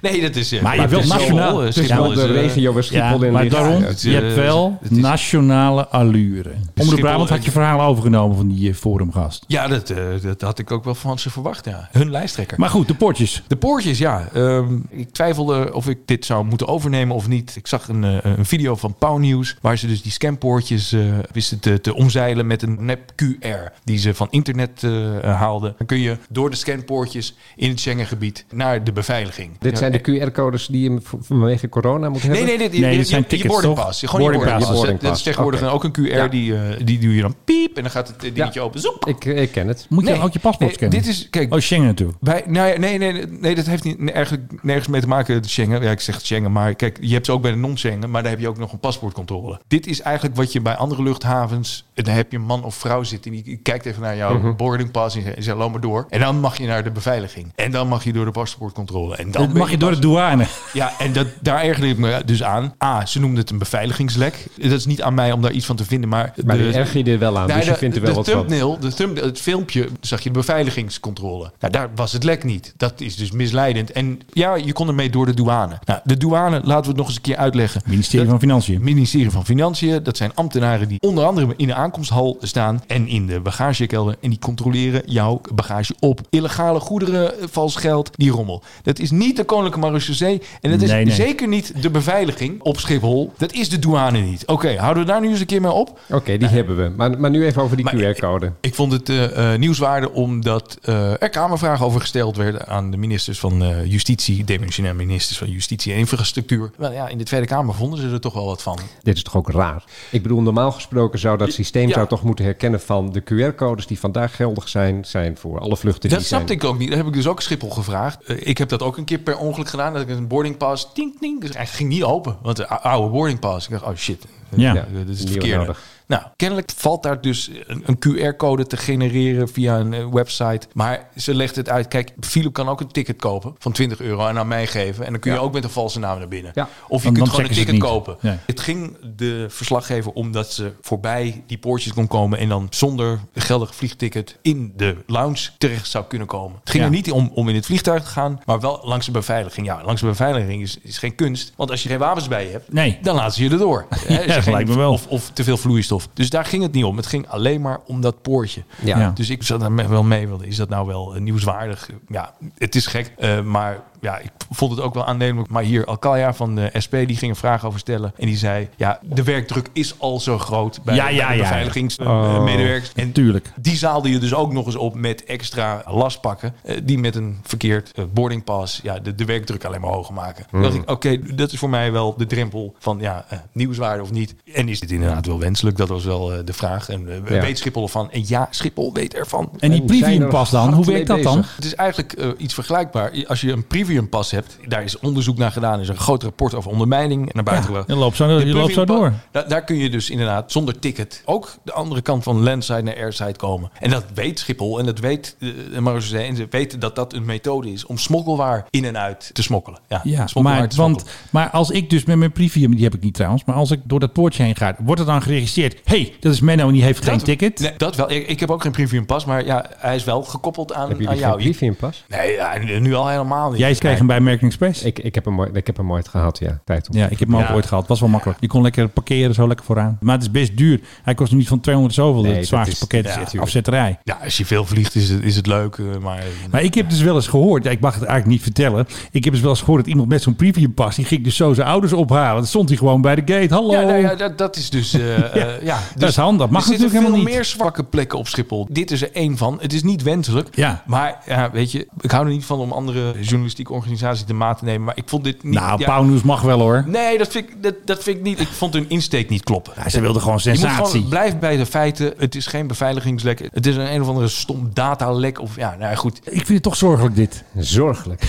[SPEAKER 1] nee, dat is... eh,
[SPEAKER 6] Maar je hebt wel
[SPEAKER 1] het is
[SPEAKER 6] nationaal.
[SPEAKER 1] eh,
[SPEAKER 6] Het is
[SPEAKER 1] Schiphol
[SPEAKER 7] wel de
[SPEAKER 1] eh,
[SPEAKER 7] regio waar Schiphol in
[SPEAKER 6] maar
[SPEAKER 7] ligt.
[SPEAKER 6] daarom,
[SPEAKER 7] Ja,
[SPEAKER 1] het is,
[SPEAKER 6] je hebt
[SPEAKER 1] eh,
[SPEAKER 6] wel
[SPEAKER 1] het is-
[SPEAKER 6] nationale allure. Omroep
[SPEAKER 1] Schiphol-
[SPEAKER 6] Brabant had je verhaal overgenomen van die eh, forumgast.
[SPEAKER 1] Ja, dat, eh, dat had ik ook wel van ze verwacht, ja. Hun lijsttrekker.
[SPEAKER 6] Maar goed, de potjes.
[SPEAKER 1] De poortjes, ja. Ehm, ik twijfelde of ik dit zou moeten overnemen of niet. Ik zag een, eh, een video van Pauw News... waar ze dus die scampoortjes eh, wisten te, te omzeilen met een nep QR... die ze van internet eh, haalden. Dan kun je door de scampoortjes in het Schengengebied naar de beveiliging.
[SPEAKER 7] Dit
[SPEAKER 1] Ja,
[SPEAKER 7] zijn
[SPEAKER 1] eh,
[SPEAKER 7] de QR-codes die je v- vanwege corona moet hebben?
[SPEAKER 1] Nee, nee, dit,
[SPEAKER 6] Nee, dit
[SPEAKER 1] je-
[SPEAKER 6] zijn
[SPEAKER 1] je, je
[SPEAKER 6] tickets,
[SPEAKER 1] boarding
[SPEAKER 6] toch?
[SPEAKER 1] pass. Gewoon je
[SPEAKER 6] Boarding
[SPEAKER 1] boarding
[SPEAKER 7] pass.
[SPEAKER 1] pass.
[SPEAKER 7] Boarding
[SPEAKER 1] Dat is
[SPEAKER 7] pass,
[SPEAKER 1] tegenwoordig
[SPEAKER 7] oké.
[SPEAKER 1] dan ook een QR,
[SPEAKER 7] Ja.
[SPEAKER 1] die, eh, die doe je dan piep en dan gaat het eh, dingetje open. Zoep.
[SPEAKER 7] Ik, eh, ik ken het.
[SPEAKER 6] Moet je
[SPEAKER 1] Nee,
[SPEAKER 6] dan ook je paspoort
[SPEAKER 1] nee,
[SPEAKER 6] scannen?
[SPEAKER 1] dit is- kijk-
[SPEAKER 6] oh, Schengen natuurlijk.
[SPEAKER 1] Wij, nou ja, nee, nee, nee, nee, dat heeft niet, nee, eigenlijk nergens mee te maken, de Schengen. Ja, ik zeg Schengen, maar kijk, je hebt ze ook bij de non-Schengen, maar daar heb je ook nog een paspoortcontrole. Dit is eigenlijk wat je bij andere luchthavens, en dan heb je een man of vrouw zitten en die kijkt even naar jouw
[SPEAKER 7] Mhm.
[SPEAKER 1] boardingpas en zegt- en zegt, loop maar door. En dan mag je naar de beveiliging. En dan mag je door de paspoortcontrole. En dan
[SPEAKER 6] Dan
[SPEAKER 1] ben
[SPEAKER 6] mag je door
[SPEAKER 1] pas-
[SPEAKER 6] de douane.
[SPEAKER 1] Ja, en dat, daar ergerde ik me dus aan. A, ze noemden het een beveiligingslek. Dat is niet aan mij om daar iets van te vinden, maar...
[SPEAKER 7] Maar
[SPEAKER 1] de-
[SPEAKER 7] die erg je er wel aan,
[SPEAKER 1] Nee,
[SPEAKER 7] dus je
[SPEAKER 1] de-
[SPEAKER 7] vindt er
[SPEAKER 1] de
[SPEAKER 7] wel wat van.
[SPEAKER 1] thumbnail, de thumbnail, het filmpje, zag je de beveiligingscontrole. Nou, daar was het lek niet. Dat is dus misleidend. En ja, je kon ermee door de douane. Nou, de douane, laten we het nog eens een keer uitleggen.
[SPEAKER 6] Ministerie
[SPEAKER 1] Dat-
[SPEAKER 6] van Financiën.
[SPEAKER 1] Ministerie van Financiën, dat zijn ambtenaren die onder andere in de aankomsthal staan en in de bagagekelder. En die controleren jouw bagage op. Illegale goederen, eh, vals geld, die rommel. Dat is niet de Koninklijke Marechaussee. En dat is
[SPEAKER 6] Nee, nee.
[SPEAKER 1] zeker niet de beveiliging op Schiphol. Dat is de douane niet. Oké, houden we daar nu eens een keer mee op.
[SPEAKER 7] Oké, die hebben we. Maar, maar nu even over die
[SPEAKER 1] Maar-
[SPEAKER 7] QR-code.
[SPEAKER 1] Ik vond het eh, eh, nieuwswaarde omdat eh, er kamervragen over gesteld werden aan de ministers van eh, Justitie, demissionair ministers van Justitie en Infrastructuur. Wel ja, in de Tweede Kamer vonden ze er toch wel wat van.
[SPEAKER 7] Dit is toch ook raar? Ik bedoel, normaal gesproken zou dat systeem
[SPEAKER 1] Ja.
[SPEAKER 7] zou toch moeten herkennen van de QR-codes die vandaag geldig zijn, zijn voor alle vluchten die
[SPEAKER 1] dat snapte
[SPEAKER 7] zijn.
[SPEAKER 1] ik ook niet. Dat heb ik dus ook Schiphol gevraagd. Eh, ik heb dat ook een keer per ongeluk gedaan. Dat ik een boardingpas, tink, tink. Dus hij ging niet open, want de ou- oude boardingpas. Ik dacht, oh shit.
[SPEAKER 6] Ja.
[SPEAKER 1] Eh, dat is het
[SPEAKER 6] Nieuwe
[SPEAKER 1] verkeerde.
[SPEAKER 6] nodig.
[SPEAKER 1] Nou, kennelijk valt daar dus een, een QR-code te genereren via een eh, website. Maar ze legt het uit. Kijk, Philip kan ook een ticket kopen van 20 euro en aan mij geven. En dan kun je ook met een valse naam naar binnen.
[SPEAKER 6] Ja.
[SPEAKER 1] Of je
[SPEAKER 6] Dan- dan
[SPEAKER 1] kunt gewoon een
[SPEAKER 6] checken ze het
[SPEAKER 1] ticket
[SPEAKER 6] niet.
[SPEAKER 1] kopen.
[SPEAKER 6] Nee.
[SPEAKER 1] Het ging de verslaggever omdat ze voorbij die poortjes kon komen. En dan zonder geldig vliegticket in de lounge terecht zou kunnen komen. Het ging
[SPEAKER 6] Ja.
[SPEAKER 1] er niet om, om in het vliegtuig te gaan, maar wel langs de beveiliging. Ja, langs de beveiliging is, is geen kunst. Want als je geen wapens bij je hebt,
[SPEAKER 6] Nee.
[SPEAKER 1] dan laten ze je erdoor. Hè, als je
[SPEAKER 6] dat
[SPEAKER 1] geen-
[SPEAKER 6] lijkt me wel.
[SPEAKER 1] Of, of te veel vloeistof. Dus daar ging het niet om. Het ging alleen maar om dat poortje.
[SPEAKER 6] Ja. Ja.
[SPEAKER 1] Dus ik zat daar me- wel mee. wilde. Is dat nou wel eh, nieuwswaardig? Ja, het is gek. eh, maar ja, ik vond het ook wel aannemelijk. Maar hier, Alcaya van de SP, die ging een vraag over stellen. En die zei, ja, de werkdruk is al zo groot bij,
[SPEAKER 6] Ja,
[SPEAKER 1] bij
[SPEAKER 6] ja,
[SPEAKER 1] de
[SPEAKER 6] ja. Oh,
[SPEAKER 1] beveiligingsmedewerkers. en
[SPEAKER 6] tuurlijk.
[SPEAKER 1] die zaalde je dus ook nog eens op met extra lastpakken. eh, die met een verkeerd eh, boarding pass ja, de, de werkdruk alleen maar hoger maken. Dan dacht ik, oké, dat is voor mij wel de drempel van ja, eh, nieuwswaarde of niet. En is dit inderdaad wel wenselijk? Dat was wel eh, de vraag. En eh,
[SPEAKER 6] Ja.
[SPEAKER 1] weet Schiphol ervan? En ja, Schiphol weet ervan.
[SPEAKER 6] En die premium pas dan? Hoe werkt dat dan?
[SPEAKER 1] Het is eigenlijk eh, iets vergelijkbaar. Als je een premium pas hebt, daar is onderzoek naar gedaan. Er is een groot rapport over ondermijning naar buiten gebracht.
[SPEAKER 6] je loopt zo- je
[SPEAKER 1] De
[SPEAKER 6] loopt zo
[SPEAKER 1] premium
[SPEAKER 6] door.
[SPEAKER 1] pa- Da- daar kun je dus inderdaad zonder ticket ook de andere kant van landside naar airside komen. En dat weet Schiphol en dat weet eh, de Marseille. En ze weten dat dat een methode is om smokkelwaar in en uit te smokkelen. Ja,
[SPEAKER 6] Ja,
[SPEAKER 1] smokkelwaar
[SPEAKER 6] maar,
[SPEAKER 1] te
[SPEAKER 6] want, maar als ik dus met mijn premium, die heb ik niet trouwens, maar als ik door dat poortje heen ga, wordt het dan geregistreerd? Hé, hey, dat is Menno en die heeft geen ticket.
[SPEAKER 1] Nee, dat wel. Ik, ik heb ook geen premium pas, maar ja, hij is wel gekoppeld aan,
[SPEAKER 6] Hebben
[SPEAKER 1] aan
[SPEAKER 6] jullie
[SPEAKER 1] jou.
[SPEAKER 6] geen
[SPEAKER 7] Brief in pas.
[SPEAKER 1] Nee, ja, nu al helemaal niet.
[SPEAKER 6] Jij kreeg hem bij Merkin Express.
[SPEAKER 7] Ik, ik, heb hem ooit, ik heb hem ooit gehad, ja. Tijd om
[SPEAKER 6] Ja, ik heb hem ook
[SPEAKER 7] Ja.
[SPEAKER 6] ooit gehad. Was wel makkelijk. Je kon lekker parkeren, zo lekker vooraan. Maar het is best duur. Hij kost nu niet van 200 zoveel.
[SPEAKER 1] Nee,
[SPEAKER 6] het
[SPEAKER 1] dat
[SPEAKER 6] zwaarste
[SPEAKER 1] is-
[SPEAKER 6] pakket
[SPEAKER 1] ja,
[SPEAKER 6] is
[SPEAKER 1] tuurlijk.
[SPEAKER 6] afzetterij.
[SPEAKER 1] Ja, als je veel vliegt is het, is het leuk, eh, maar...
[SPEAKER 6] Maar ik heb dus wel eens gehoord, ja, ik mag het eigenlijk niet vertellen. Ik heb dus wel eens gehoord dat iemand met zo'n premium pas, die ging dus zo zijn ouders ophalen. Dan stond hij gewoon bij de gate. Hallo.
[SPEAKER 1] Ja, nou ja, dat, dat is dus... eh, eh, ja,
[SPEAKER 6] Oh. Nou, dat is handig. Mag
[SPEAKER 1] er zitten
[SPEAKER 6] natuurlijk helemaal
[SPEAKER 1] veel meer
[SPEAKER 6] niet.
[SPEAKER 1] zwakke plekken op Schiphol. Dit is er één van. Het is niet wenselijk. Ja. Maar ja, weet je, ik hou er niet van om andere journalistieke organisaties de maat te nemen. Maar ik vond dit niet...
[SPEAKER 6] nou,
[SPEAKER 1] ja,
[SPEAKER 6] Pauw Nieuws mag wel hoor.
[SPEAKER 1] Nee, dat vind, ik, dat, dat vind ik niet. Ik vond hun insteek niet kloppen.
[SPEAKER 6] Ja, Nou, ze wilden gewoon
[SPEAKER 1] Je moet
[SPEAKER 6] sensatie.
[SPEAKER 1] Gewoon, blijf bij de feiten. Het is geen beveiligingslek. Het is een een of andere stom datalek. Of, ja, nou ja, goed.
[SPEAKER 6] Ik vind het toch zorgelijk dit.
[SPEAKER 7] Zorgelijk.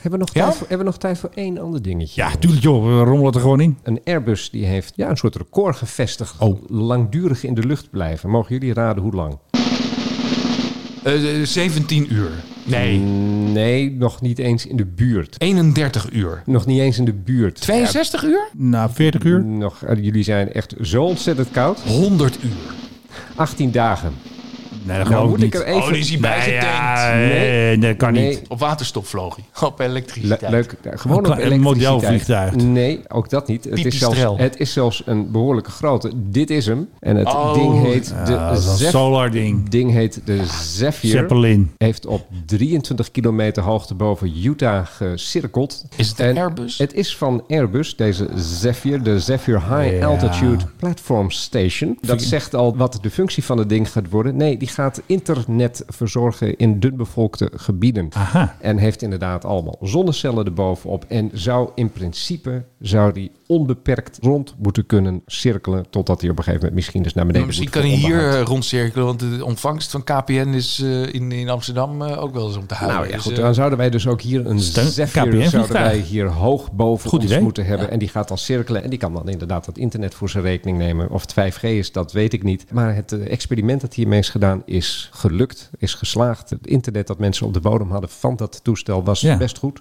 [SPEAKER 7] hebben, we nog
[SPEAKER 1] Ja?
[SPEAKER 7] tijd voor, hebben we nog tijd voor één ander dingetje?
[SPEAKER 6] Ja, tuurlijk joh, we rommelen er gewoon in.
[SPEAKER 7] Een Airbus die heeft ja, een soort record gevestigd.
[SPEAKER 1] Oh.
[SPEAKER 7] Langdurig in de lucht blijven. Mogen jullie raden hoe lang?
[SPEAKER 1] Eh, eh, 17 uur. Nee.
[SPEAKER 7] Nee, nog niet eens in de buurt.
[SPEAKER 1] 31 uur.
[SPEAKER 7] Nog niet eens in de buurt.
[SPEAKER 1] 62 uur?
[SPEAKER 6] Na 40 uur?
[SPEAKER 7] Nog, eh, jullie zijn echt zo ontzettend koud.
[SPEAKER 1] 100 uur.
[SPEAKER 7] 18 dagen.
[SPEAKER 6] Nee,
[SPEAKER 7] dat
[SPEAKER 6] geloof ik
[SPEAKER 7] moet
[SPEAKER 6] niet.
[SPEAKER 7] ik er even...
[SPEAKER 1] Oh, die is hierbij
[SPEAKER 6] Nee,
[SPEAKER 1] getankt.
[SPEAKER 6] ja, nee, dat kan niet.
[SPEAKER 1] Op waterstof vloog hij. Op
[SPEAKER 7] Le-
[SPEAKER 1] elektriciteit.
[SPEAKER 7] leuk, eh, gewoon
[SPEAKER 6] Een
[SPEAKER 7] op
[SPEAKER 6] klein- een
[SPEAKER 7] elektriciteit.
[SPEAKER 6] modelvliegtuig.
[SPEAKER 7] Nee, ook dat niet. Het is,
[SPEAKER 6] Typisch
[SPEAKER 7] zelfs,
[SPEAKER 6] Trel.
[SPEAKER 7] het is zelfs een behoorlijke grote. Dit is hem. En het
[SPEAKER 6] Oh.
[SPEAKER 7] ding heet de
[SPEAKER 6] Ah, dat is een
[SPEAKER 7] Zef-
[SPEAKER 6] solar ding. Ah.
[SPEAKER 7] ding heet de Zephyr.
[SPEAKER 6] Zeppelin.
[SPEAKER 7] Heeft op 23 kilometer hoogte boven Utah gecirkeld.
[SPEAKER 1] Is het een Airbus?
[SPEAKER 7] Het is van Airbus, deze Zephyr. De Zephyr High
[SPEAKER 6] Ja.
[SPEAKER 7] Altitude Platform Station. Dat zegt al wat de functie van het ding gaat worden. Nee, die gaat internet verzorgen in dunbevolkte gebieden.
[SPEAKER 6] Aha.
[SPEAKER 7] En heeft inderdaad allemaal zonnecellen erbovenop. En zou in principe zou die onbeperkt rond moeten kunnen cirkelen. Totdat hij op een gegeven moment misschien dus naar beneden
[SPEAKER 1] Maar misschien
[SPEAKER 7] moet
[SPEAKER 1] kan hij
[SPEAKER 7] voor
[SPEAKER 1] hier
[SPEAKER 7] onderhoud.
[SPEAKER 1] eh, rondcirkelen, want de ontvangst van KPN is eh, in, in Amsterdam eh, ook wel eens om te houden.
[SPEAKER 7] Nou ja,
[SPEAKER 1] Dus,
[SPEAKER 7] goed,
[SPEAKER 1] eh,
[SPEAKER 7] dan zouden wij dus ook hier een
[SPEAKER 6] Steun-
[SPEAKER 7] Zephyr
[SPEAKER 6] KPN
[SPEAKER 7] zouden wij
[SPEAKER 6] vliegtuig.
[SPEAKER 7] hier hoog boven
[SPEAKER 6] Goed
[SPEAKER 7] ons
[SPEAKER 6] idee.
[SPEAKER 7] moeten hebben. En die gaat dan cirkelen en die kan dan inderdaad dat internet voor zijn rekening nemen. Of het 5G is, dat weet ik niet. Maar het eh, experiment dat hiermee is gedaan is gelukt, is geslaagd. Het internet dat mensen op de bodem hadden van dat toestel was
[SPEAKER 6] Ja.
[SPEAKER 7] best goed.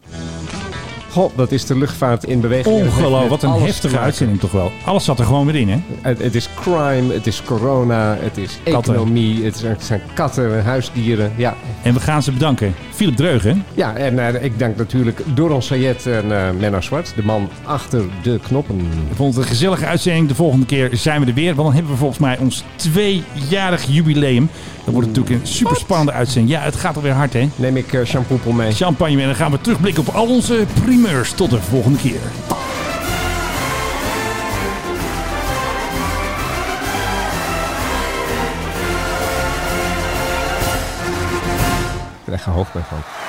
[SPEAKER 7] Goh, dat is de luchtvaart in beweging. En het heeft
[SPEAKER 6] Ongelooflijk,
[SPEAKER 7] met
[SPEAKER 6] wat een
[SPEAKER 7] alles
[SPEAKER 6] heftige
[SPEAKER 7] te maken.
[SPEAKER 6] uitzending toch wel. Alles zat er gewoon weer in, hè?
[SPEAKER 7] Het, het is crime, het is corona, het is
[SPEAKER 6] Katten.
[SPEAKER 7] economie, het zijn, het zijn katten en huisdieren. Ja,
[SPEAKER 6] En we gaan ze bedanken. Philip Dreugen.
[SPEAKER 7] Ja, en eh, ik dank natuurlijk Doron Sayed en eh, Menno Zwart, de man achter de knoppen.
[SPEAKER 6] Ik vond het een gezellige uitzending. De volgende keer zijn we er weer. Want dan hebben we volgens mij ons tweejarig jubileum. Dat wordt natuurlijk een super spannende uitzending. Ja, het gaat alweer hard, hè?
[SPEAKER 7] Neem ik eh, shampoo mee.
[SPEAKER 6] Champagne mee. En dan gaan we terugblikken op al onze primeurs. Tot de volgende keer.
[SPEAKER 7] Ik krijg er hoofdpijn van.